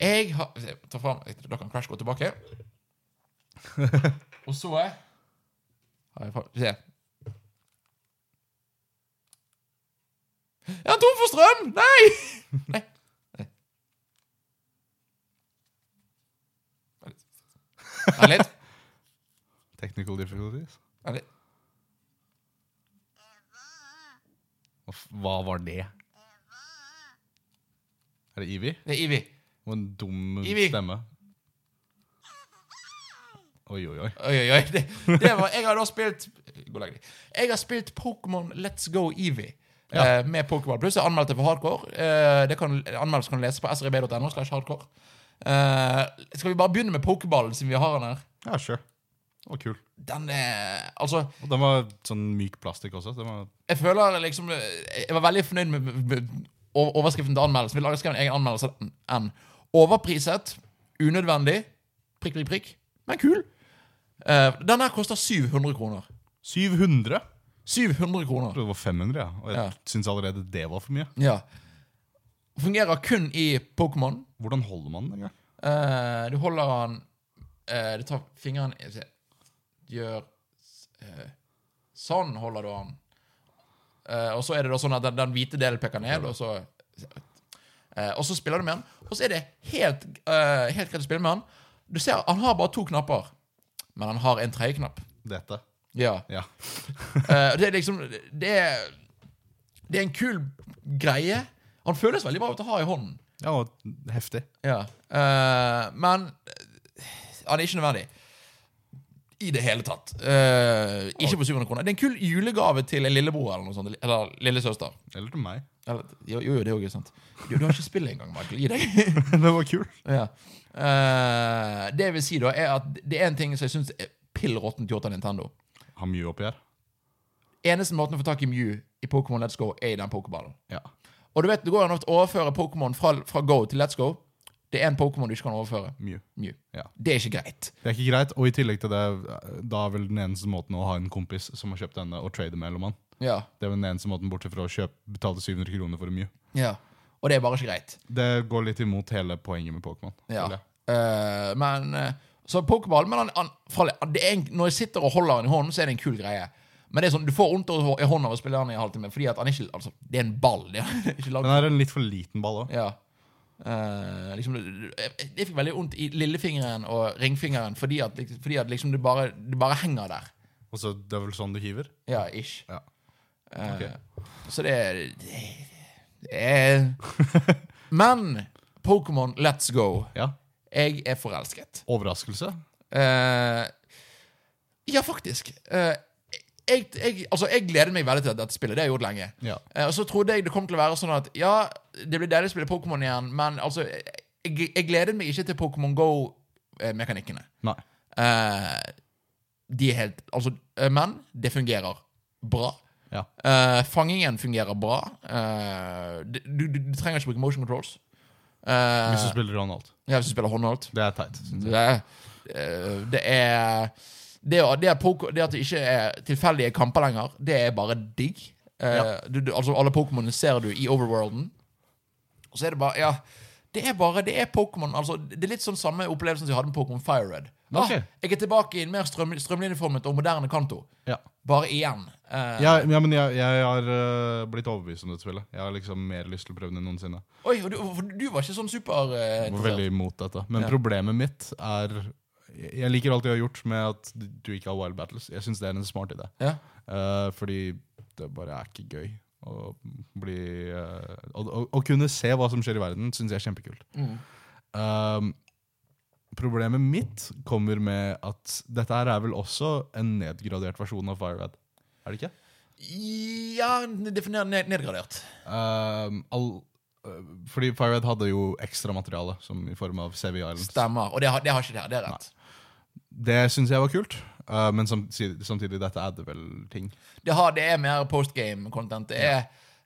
[SPEAKER 1] Jeg har Ta fram Da kan Crash gå tilbake. Og så er Har jeg fram- Se. Jeg er tom for strøm! Nei! Nei. Vent litt.
[SPEAKER 2] Technical difficulties.
[SPEAKER 1] Vent litt.
[SPEAKER 2] Og f- Hva var det?
[SPEAKER 3] Hva?
[SPEAKER 2] Er det Evie?
[SPEAKER 1] Det er Ivy.
[SPEAKER 2] Og en dum
[SPEAKER 1] Evie.
[SPEAKER 2] stemme. Oi, oi, oi.
[SPEAKER 1] Oi, oi, oi. Det, det var, jeg har da spilt Gå og legg deg. Jeg har spilt Pokémon Let's Go Eevee. eh, med Pokémon Pluss. Jeg anmeldte for hardcore. Eh, det kan, anmeldelse kan du lese på srib.no. slash hardcore Eh, Skal vi bare begynne med pokerballen, siden vi har den her?
[SPEAKER 2] Ja, sure. Det var kul.
[SPEAKER 1] Den er Altså,
[SPEAKER 2] Og den var sånn myk plastikk også. Den var
[SPEAKER 1] jeg føler liksom eh, Jeg var veldig fornøyd med, med o- overskriften til anmeldelsen. Vi lager skrevet en egen anmeldelse enn overpriset, unødvendig, prikk, prikk, prikk, men kul. Eh, den her koster 700 kroner.
[SPEAKER 2] 700! Jeg
[SPEAKER 1] 700 kroner.
[SPEAKER 2] trodde det var 500, ja. og jeg
[SPEAKER 1] Ja.
[SPEAKER 2] syns allerede det var for mye.
[SPEAKER 1] Ja. Fungerer kun i Pokémon.
[SPEAKER 2] Hvordan holder man den? engang?
[SPEAKER 1] Eh, du holder han eh, Du tar fingeren jeg ser, Gjør eh, Sånn holder du han. Eh, og så er det da sånn at den, den hvite delen peker ned, og så eh, Og så spiller du med han. Og så er det helt, eh, helt greit å spille med han. Du ser, Han har bare to knapper, men han har en tredje knapp.
[SPEAKER 2] Dette.
[SPEAKER 1] Ja.
[SPEAKER 2] Ja.
[SPEAKER 1] Eh, det er liksom det er, det er en kul greie. Han føles veldig bra ut å ha i hånden.
[SPEAKER 2] ja, og heftig.
[SPEAKER 1] Ja. eh, men eh, han er ikke nødvendig. I det hele tatt. Eh, ikke på 700 kroner. Det er en kul julegave til en lillebror eller noe sånt. Eller lillesøster.
[SPEAKER 2] Eller til meg. *laughs*
[SPEAKER 1] Eller, jo, jo, jo, det er jo ikke sant. Jo, du har ikke spillet engang, Michael. Gi deg. *laughs*
[SPEAKER 2] den var kul.
[SPEAKER 1] ja. Eh, det jeg vil si, da, er at det er en ting som jeg syns er pill råttent gjort av Nintendo.
[SPEAKER 2] Ha mye oppi her.
[SPEAKER 1] Eneste måten å få tak i Mew i Pokémon Let's Go, er i den pokerballen.
[SPEAKER 2] Ja.
[SPEAKER 1] Og du vet, det går an å overføre Pokémon fra, fra Go til Let's Go. Det er en Pokémon du ikke kan overføre.
[SPEAKER 2] Mye.
[SPEAKER 1] Mew.
[SPEAKER 2] Ja.
[SPEAKER 1] Det er ikke greit.
[SPEAKER 2] Det er ikke greit, og i tillegg til det, da er vel den eneste måten å ha en kompis som har kjøpt denne, og trade med Ellemann.
[SPEAKER 1] Ja.
[SPEAKER 2] Det er vel den eneste måten bortsett fra å kjøpe, betale 700 kroner for mye.
[SPEAKER 1] Ja. Og det er bare ikke greit.
[SPEAKER 2] Det går litt imot hele poenget med Pokémon.
[SPEAKER 1] Ja.
[SPEAKER 2] føler jeg.
[SPEAKER 1] Eh, men eh, Så pokerball men han, han, fra- det er en, Når jeg sitter og holder han i hånden, så er det en kul greie. Men det er sånn, du får vondt i hånden av å spille han i en halvtime. Fordi at han ikke, altså, Det er en ball. Det er *laughs* ikke
[SPEAKER 2] Den
[SPEAKER 1] laget.
[SPEAKER 2] er en litt for liten ball òg.
[SPEAKER 1] Ja. Eh, liksom, jeg, jeg fikk veldig vondt i lillefingeren og ringfingeren fordi at, fordi at liksom det bare, det bare henger der.
[SPEAKER 2] Og så det er vel sånn du hiver?
[SPEAKER 1] Ja, ish.
[SPEAKER 2] Ja.
[SPEAKER 1] Eh,
[SPEAKER 2] Ok.
[SPEAKER 1] Så det er det, det er *laughs* Men Pokémon Let's Go.
[SPEAKER 2] Ja.
[SPEAKER 1] Jeg er forelsket.
[SPEAKER 2] Overraskelse?
[SPEAKER 1] Eh, ja, faktisk. Eh, jeg, jeg, altså, jeg gleder meg veldig til dette spillet. Det har jeg gjort lenge.
[SPEAKER 2] Ja.
[SPEAKER 1] Eh, og så trodde jeg det kom til å være sånn at ja, det blir deilig å spille Pokémon igjen, men altså Jeg, jeg gleder meg ikke til Pokémon Go-mekanikkene.
[SPEAKER 2] Nei.
[SPEAKER 1] Eh, de er helt Altså, eh, men det fungerer bra.
[SPEAKER 2] Ja.
[SPEAKER 1] Eh, fangingen fungerer bra. Eh, du, du, du trenger ikke bruke motion controls. Eh,
[SPEAKER 2] Hvis du spiller Ronald.
[SPEAKER 1] ja, hvis du spiller håndholdt.
[SPEAKER 2] Det er teit. synes jeg.
[SPEAKER 1] Det, er- eh, det er det, å- det, er pok- det at det ikke er tilfeldige kamper lenger, det er bare digg. Eh,
[SPEAKER 2] Ja.
[SPEAKER 1] du, du, altså Alle Pokémonene ser du i overworlden. Og så er det bare Ja, det er bare Det er Pokémon. Altså, det er litt sånn samme opplevelsen som jeg hadde med Pokémon FireRed. Ah,
[SPEAKER 2] Ok.
[SPEAKER 1] jeg er tilbake i en mer strøm, strømlinjeformet og moderne kanto.
[SPEAKER 2] Ja.
[SPEAKER 1] Bare igjen. Eh,
[SPEAKER 2] Ja, ja, men jeg, jeg har øh, blitt overbevist om dette spillet. Jeg har liksom mer lyst til å prøve det enn noensinne.
[SPEAKER 1] Oi, og du, for du var ikke sånn super eh,
[SPEAKER 2] Jeg var
[SPEAKER 1] interessert.
[SPEAKER 2] veldig imot dette. Men
[SPEAKER 1] Ja.
[SPEAKER 2] problemet mitt er Jeg jeg liker alt jeg har gjort med at du ikke har Wild Battles. Jeg syns det er en smart idé.
[SPEAKER 1] Ja.
[SPEAKER 2] Eh, fordi det bare er ikke gøy å bli eh, å, å, å kunne se hva som skjer i verden, syns jeg er kjempekult.
[SPEAKER 1] Mm.
[SPEAKER 2] Um, problemet mitt kommer med at dette her er vel også en nedgradert versjon av FireRed. Er det ikke?
[SPEAKER 1] ja, definer ned, nedgradert.
[SPEAKER 2] Um, all, eh, fordi FireRed hadde jo ekstra materiale, som i form av Sevi Islands.
[SPEAKER 1] Stemmer. Og det har, det har ikke det her. Det er rett.
[SPEAKER 2] Det syns jeg var kult, eh, men samtidig, samtidig dette adder vel ting.
[SPEAKER 1] Det, har, det er mer postgame-content. Det er,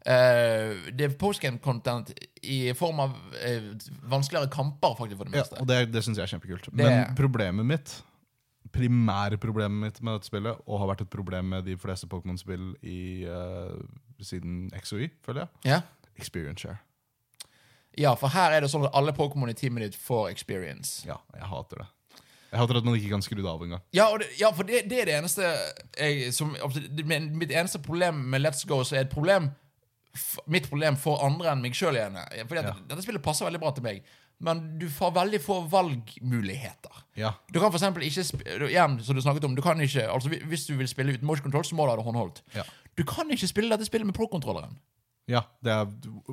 [SPEAKER 1] eh, det er postgame-content i form av eh, vanskeligere kamper, faktisk, for det
[SPEAKER 2] Ja,
[SPEAKER 1] meste.
[SPEAKER 2] og det, det syns jeg er kjempekult.
[SPEAKER 1] Det-
[SPEAKER 2] Men problemet mitt primærproblemet mitt med dette spillet, og har vært et problem med de fleste Pokémon-spill i, eh, siden XOY, føler jeg,
[SPEAKER 1] Ja.
[SPEAKER 2] experience share.
[SPEAKER 1] ja, for her er det sånn at alle Pokémon i teamet ditt får experience.
[SPEAKER 2] Ja, jeg hater det. Jeg hater at man ikke kan skru det av engang.
[SPEAKER 1] Ja, og det, ja for det, det er det eneste jeg, som, altså, det- men Mitt eneste problem med Let's Go som er et problem f- Mitt problem for andre enn meg sjøl igjen. Fordi at Dette spillet passer veldig bra til meg, men du får veldig få valgmuligheter.
[SPEAKER 2] Ja.
[SPEAKER 1] Du kan for eksempel ikke sp du- igjen, som du snakket om, du kan ikke, altså hvi- Hvis du vil spille uten motion control, så må du ha det håndholdt.
[SPEAKER 2] Ja.
[SPEAKER 1] Du kan ikke spille dette spillet med pro-kontrolleren.
[SPEAKER 2] Ja, det er,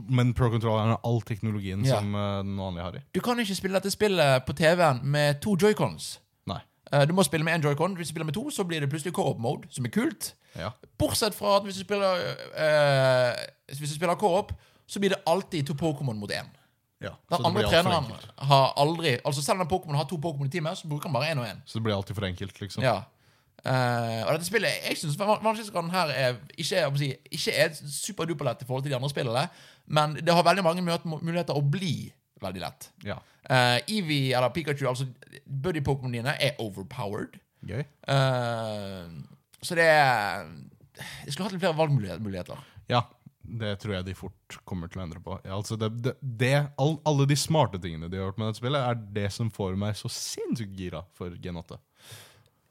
[SPEAKER 2] men pro-controlleren har all teknologien
[SPEAKER 1] Ja.
[SPEAKER 2] som eh, den vanlige har i.
[SPEAKER 1] Du kan ikke spille dette spillet på TV-en med to joycons.
[SPEAKER 2] Nei.
[SPEAKER 1] Eh, Du må spille med én joycon. Hvis du spiller med to, så blir det plutselig co-op-mode, som er kult.
[SPEAKER 2] Ja.
[SPEAKER 1] Bortsett fra at hvis du spiller eh, Hvis du spiller co-op, så blir det alltid to Pokémon mot én.
[SPEAKER 2] Ja,
[SPEAKER 1] Den
[SPEAKER 2] så det
[SPEAKER 1] andre
[SPEAKER 2] blir alt for
[SPEAKER 1] treneren
[SPEAKER 2] enkelt.
[SPEAKER 1] har aldri Altså Selv om Pokémon har to Pokémon i teamet, så bruker han bare én og én.
[SPEAKER 2] Så det blir alltid for enkelt, liksom.
[SPEAKER 1] Ja. Eh, og dette spillet jeg synes, Vanskelighetsgraden her er ikke, jeg må si, ikke er superduperlett i forhold til de andre spillene, men det har veldig mange møt- muligheter å bli veldig lett.
[SPEAKER 2] Ja.
[SPEAKER 1] Uh, Evie eller Pikachu, altså buddy-pokémonene dine, er overpowered.
[SPEAKER 2] Gøy.
[SPEAKER 1] Eh, så det er Jeg skulle hatt litt flere valgmuligheter.
[SPEAKER 2] Ja, det tror jeg de fort kommer til å endre på. Ja, altså det, det, det, all, alle de smarte tingene de har gjort med dette spillet, er det som får meg så sinnssykt gira for Gen 8.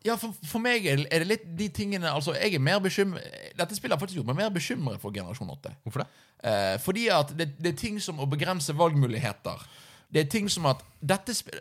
[SPEAKER 1] Ja, for, for meg er er det litt de tingene Altså, jeg er mer bekymret Dette spillet har faktisk gjort meg mer bekymret for generasjon 8.
[SPEAKER 2] Hvorfor det?
[SPEAKER 1] Eh, fordi at det, det er ting som å begrense valgmuligheter. Det er ting som at dette, sp-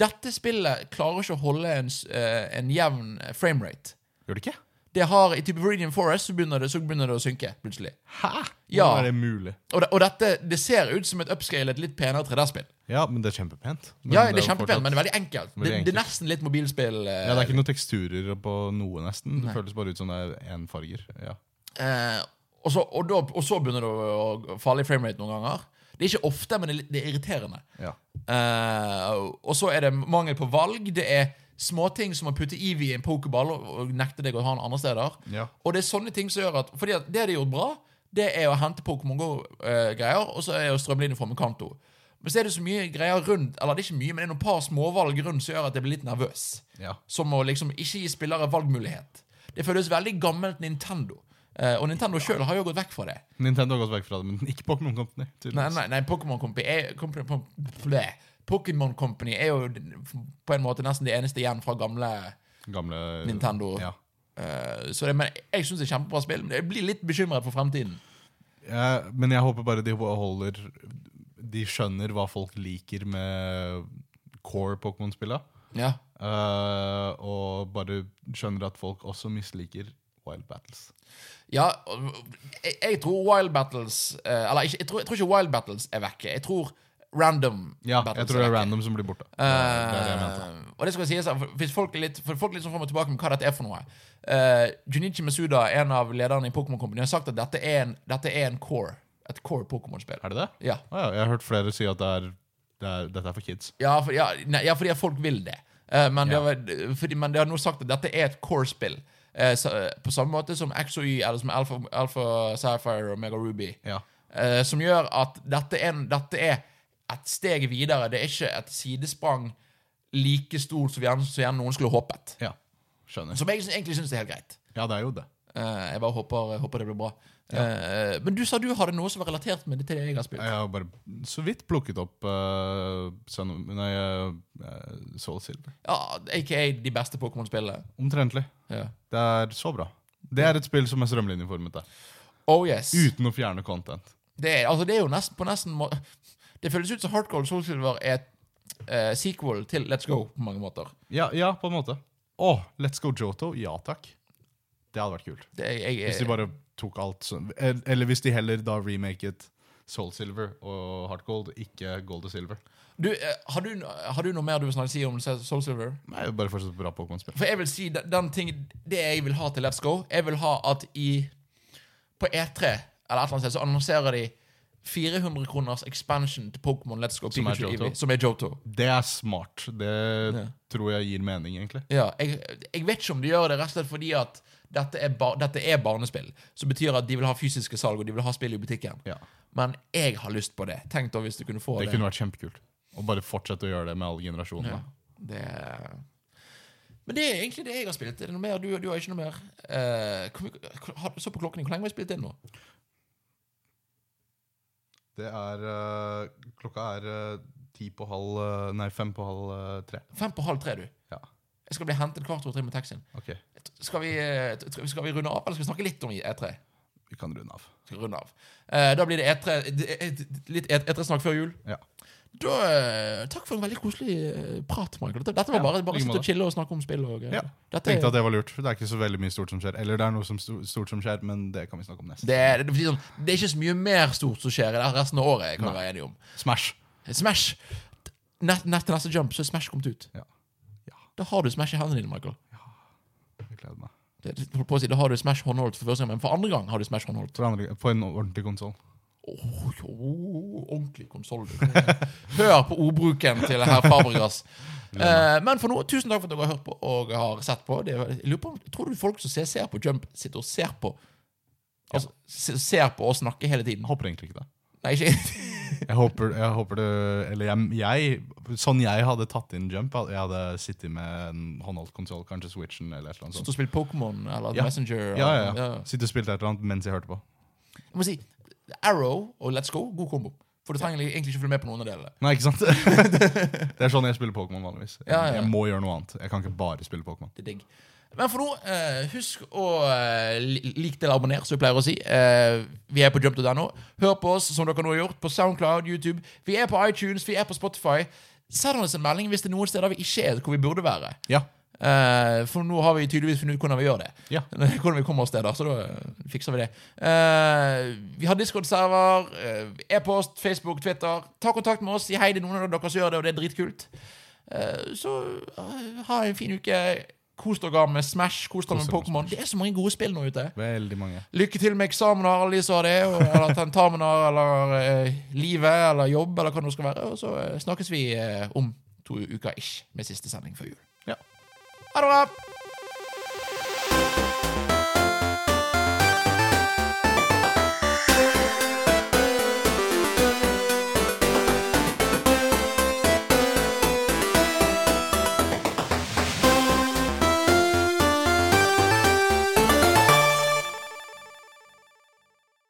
[SPEAKER 1] dette spillet klarer ikke å holde en, s- eh, en jevn framerate.
[SPEAKER 2] Gjør det ikke?
[SPEAKER 1] Det har, I type Viridian Forest så begynner det, så begynner det å synke plutselig.
[SPEAKER 2] Hæ?
[SPEAKER 1] Ja.
[SPEAKER 2] Hvordan er det mulig?
[SPEAKER 1] Og, det, og dette det ser ut som et upscalet, litt penere 3D-spill.
[SPEAKER 2] Ja, men det er kjempepent. Men
[SPEAKER 1] Ja, det
[SPEAKER 2] jo
[SPEAKER 1] er kjempepent,
[SPEAKER 2] fortsatt-
[SPEAKER 1] men det er veldig enkelt.
[SPEAKER 2] Veldig
[SPEAKER 1] Det, det er nesten litt mobilspill. eh,
[SPEAKER 2] ja, Det er ikke noen teksturer på noe, nesten. Det føles bare ut som det er én farger. Ja.
[SPEAKER 1] Eh, og, så, og, da, og så begynner det å, å falle i framerate noen ganger. Det er ikke ofte, men det er, litt- det er irriterende.
[SPEAKER 2] Ja.
[SPEAKER 1] Eh, og så er det mangel på valg. Det er småting som å putte Evie i en pokerball og, og nekte deg å ha den andre steder.
[SPEAKER 2] Ja.
[SPEAKER 1] Og det er sånne ting som gjør at Fordi at det de har gjort bra, det er å hente Pokémon Go-greier, og så er det å strømle inn fra Kanto. Men så er det så mye greier rundt Eller det er ikke mye, men det er noen par småvalg rundt som gjør at jeg blir litt nervøs.
[SPEAKER 2] Ja.
[SPEAKER 1] Som å liksom ikke gi spillere valgmulighet. Det føles veldig gammelt Nintendo. Eh, og Nintendo selv sjøl har jo gått vekk fra det.
[SPEAKER 2] Nintendo har gått vekk fra det, men ikke Pokémon Company.
[SPEAKER 1] Nei,
[SPEAKER 2] tydeligvis.
[SPEAKER 1] nei, nei Pokémon Company er, Company- Pom- bleh. Pokémon Company er jo den- på en måte nesten det eneste igjen fra gamle
[SPEAKER 2] Gamle
[SPEAKER 1] Nintendo.
[SPEAKER 2] Ja.
[SPEAKER 1] Eh, så det, men jeg syns det er kjempebra spill, men jeg blir litt bekymret for fremtiden.
[SPEAKER 2] Jeg, men jeg håper bare de holder De skjønner hva folk liker med core Pokémon-spilla.
[SPEAKER 1] Ja.
[SPEAKER 2] eh, og bare skjønner at folk også misliker Wild Battles.
[SPEAKER 1] Ja, og- jeg, jeg tror Wild Battles eh, Eller ikke, jeg, tror, jeg tror ikke Wild Battles er vekke. Jeg tror Random
[SPEAKER 2] Ja,
[SPEAKER 1] Battles
[SPEAKER 2] jeg tror det er
[SPEAKER 1] vekke.
[SPEAKER 2] random som blir borte. Det er det jeg mente.
[SPEAKER 1] Eh, og det skal sies at for- Hvis folk er litt, for folk er litt sånn frem og tilbake med hva dette er for noe Eh, Junichi Masuda, en av lederne i Pokémon Company, har sagt at dette er en, dette er en core et core Pokémon-spill.
[SPEAKER 2] Er det det?
[SPEAKER 1] Ja.
[SPEAKER 2] Å ja, jeg har hørt flere si at det er, det er, dette er for kids.
[SPEAKER 1] Ja, for, ja, nei, ja, fordi at folk vil det. Eh, men,
[SPEAKER 2] Ja.
[SPEAKER 1] det har, fordi, men det har nå sagt at dette er et core-spill. Eh, så- på samme måte som XOY, eller som Alpha, Alpha Sapphire og Mega Ruby.
[SPEAKER 2] Ja.
[SPEAKER 1] Eh, som gjør at dette er, en- dette er et steg videre. Det er ikke et sidesprang like stort som gjerne, som gjerne noen skulle håpet.
[SPEAKER 2] ja. Skjønner.
[SPEAKER 1] Som jeg syn- egentlig syns er helt greit.
[SPEAKER 2] Ja, det er jo det.
[SPEAKER 1] Eh, jeg bare håper, jeg håper det blir bra. Eh, men du sa du hadde noe som var relatert med det til det jeg har spilt.
[SPEAKER 2] Jeg har bare så vidt plukket opp uh, Sun, nei, eh, Soul Silver.
[SPEAKER 1] Ja, AKA de beste Pokémon-spillene.
[SPEAKER 2] Omtrentlig.
[SPEAKER 1] Ja.
[SPEAKER 2] Det er så bra. Det er et spill som er strømlinjeformet. det.
[SPEAKER 1] Oh yes.
[SPEAKER 2] Uten å fjerne content.
[SPEAKER 1] Det er, altså, det er jo nesten på nesten må Det føles ut som Hardcore Soulsilver er et eh, sequel til Let's Go på mange måter.
[SPEAKER 2] Ja, ja på en måte. Å, Let's Go Joto. Ja takk. Det hadde vært kult.
[SPEAKER 1] Det, jeg,
[SPEAKER 2] Hvis de
[SPEAKER 1] jeg,
[SPEAKER 2] bare tok alt sånn el- Eller hvis de heller da remaket Soul Silver og Heart Gold, ikke Gold og Silver.
[SPEAKER 1] du, eh, har, du, har du noe mer du vil snakke si om Soulsilver?
[SPEAKER 2] Nei, det er bare fortsatt bra Pokémon-spill.
[SPEAKER 1] For jeg vil si den, den ting Det jeg vil ha til Let's Go, jeg vil ha at i På E3 eller et eller annet sted så annonserer de 400 kroners expansion til Pokémon Let's Go
[SPEAKER 2] Som er
[SPEAKER 1] Pikachu
[SPEAKER 2] Johto.
[SPEAKER 1] Eevee, som er Johto.
[SPEAKER 2] Det er smart. Det tror jeg gir mening, egentlig.
[SPEAKER 1] Ja, jeg, jeg vet ikke om de gjør det rett og slett fordi at dette er, bar, dette er barnespill. Som betyr at de vil ha fysiske salg, og de vil ha spill i butikken.
[SPEAKER 2] Ja.
[SPEAKER 1] Men jeg har lyst på det. Tenk da hvis du kunne få
[SPEAKER 2] Det
[SPEAKER 1] det.
[SPEAKER 2] kunne vært kjempekult. Og bare fortsette å gjøre det med alle generasjonene.
[SPEAKER 1] Ja. det Men det er egentlig det jeg har spilt. Er det noe mer? Du, du har ikke noe mer? Eh, kan vi, har, så på klokken, Hvor lenge har vi spilt inn nå?
[SPEAKER 2] Det er øh, Klokka er øh, ti på halv øh, Nei, fem på halv øh, tre.
[SPEAKER 1] Fem på halv tre, du.
[SPEAKER 2] Ja.
[SPEAKER 1] Jeg skal bli hentet kvart over tre med taxien.
[SPEAKER 2] Ok.
[SPEAKER 1] Skal vi, eh, t- skal vi runde av, eller skal vi snakke litt om E3?
[SPEAKER 2] Vi kan runde av.
[SPEAKER 1] Skal runde av. Eh, da blir det E3, d- eh, d- litt E- E3-snakk før jul.
[SPEAKER 2] Ja.
[SPEAKER 1] Da, eh, takk for en veldig koselig eh, prat, Michael. Dette, dette var
[SPEAKER 2] Ja,
[SPEAKER 1] bare, bare
[SPEAKER 2] like
[SPEAKER 1] sitte
[SPEAKER 2] måte.
[SPEAKER 1] og chille og snakke om spill. Og, greier.
[SPEAKER 2] Ja,
[SPEAKER 1] dette,
[SPEAKER 2] Tenkte at det var lurt. for Det er ikke så veldig mye stort som skjer. Eller det er noe som sto- stort som skjer, men det kan vi snakke om neste.
[SPEAKER 1] det, er- det, blir sånn, det er ikke så mye mer stort som skjer i det resten av året. kan vi være enige om.
[SPEAKER 2] Smash!
[SPEAKER 1] Smash! Nett, nett til neste jump så er Smash kommet ut.
[SPEAKER 2] Ja.
[SPEAKER 1] Da har du Smash i hendene dine, Michael.
[SPEAKER 2] Jeg gleder meg.
[SPEAKER 1] Det, det- holdt på å si, da har du Smash håndholdt for første gang, men for andre gang har du Smash håndholdt.
[SPEAKER 2] For andre, på en ordentlig konsoll.
[SPEAKER 1] Åh, jo, ordentlig konsoll. Hør på ordbruken til herr
[SPEAKER 2] *laughs*
[SPEAKER 1] Fabregas. Eh, men for nå, tusen takk for at dere har hørt på og har sett på. Det, er- jeg lurer på, om- tror du folk som ser, ser på Jump, sitter og ser på Altså, se- ser på oss snakke hele tiden?
[SPEAKER 2] Jeg håper egentlig ikke det.
[SPEAKER 1] Nei,
[SPEAKER 2] *laughs*
[SPEAKER 1] ikke
[SPEAKER 2] Jeg håper, jeg håper det Eller jeg, jeg Sånn jeg hadde tatt inn jump, hadde- jeg hadde sittet med en håndholdt konsoll, kanskje Switchen eller et eller annet
[SPEAKER 1] Sitter
[SPEAKER 2] sånt.
[SPEAKER 1] og spiller Pokémon eller
[SPEAKER 2] Ja.
[SPEAKER 1] Messenger. eller-
[SPEAKER 2] Ja, ja, ja. Sitte og spilte et eller annet mens jeg hørte på.
[SPEAKER 1] Jeg må si, Arrow og Let's Go, god kombo. For du trenger egentlig ikke følge med på noen av delene.
[SPEAKER 2] Nei, ikke sant? *laughs* det er sånn jeg spiller Pokémon vanligvis. Jeg,
[SPEAKER 1] Ja, ja.
[SPEAKER 2] jeg må gjøre noe annet. Jeg kan ikke bare spille Pokémon.
[SPEAKER 1] Det er digg. Men for nå, eh, husk å eh, li- like til abonner, som vi pleier å si. Eh, vi er på jump.no. Hør på oss, som dere nå har gjort, på Soundcloud, YouTube. Vi er på iTunes, vi er på Spotify. Send oss en melding hvis det er noen steder vi ikke er hvor vi burde være.
[SPEAKER 2] Ja.
[SPEAKER 1] Eh, for nå har vi tydeligvis funnet ut hvordan vi gjør det.
[SPEAKER 2] Ja.
[SPEAKER 1] *laughs* Hvordan vi kommer oss steder, så da eh, fikser vi det. Eh, vi har Discord-server, eh, e-post, Facebook, Twitter. Ta kontakt med oss. Si hei til noen av dere som gjør det, og det er dritkult. Eh, så eh, ha en fin uke. Kos dere med Smash, kos dere
[SPEAKER 2] Kos
[SPEAKER 1] med
[SPEAKER 2] dere med
[SPEAKER 1] Pokémon. Det er så mange gode spill nå ute.
[SPEAKER 2] Veldig mange.
[SPEAKER 1] Lykke til med eksamener, alle de som har det, og, eller tentamener, eller eh, livet, eller jobb, eller hva det nå skal være. Og så eh, snakkes vi eh, om to uker ish med siste sending før jul.
[SPEAKER 2] Ja.
[SPEAKER 1] Ha det bra!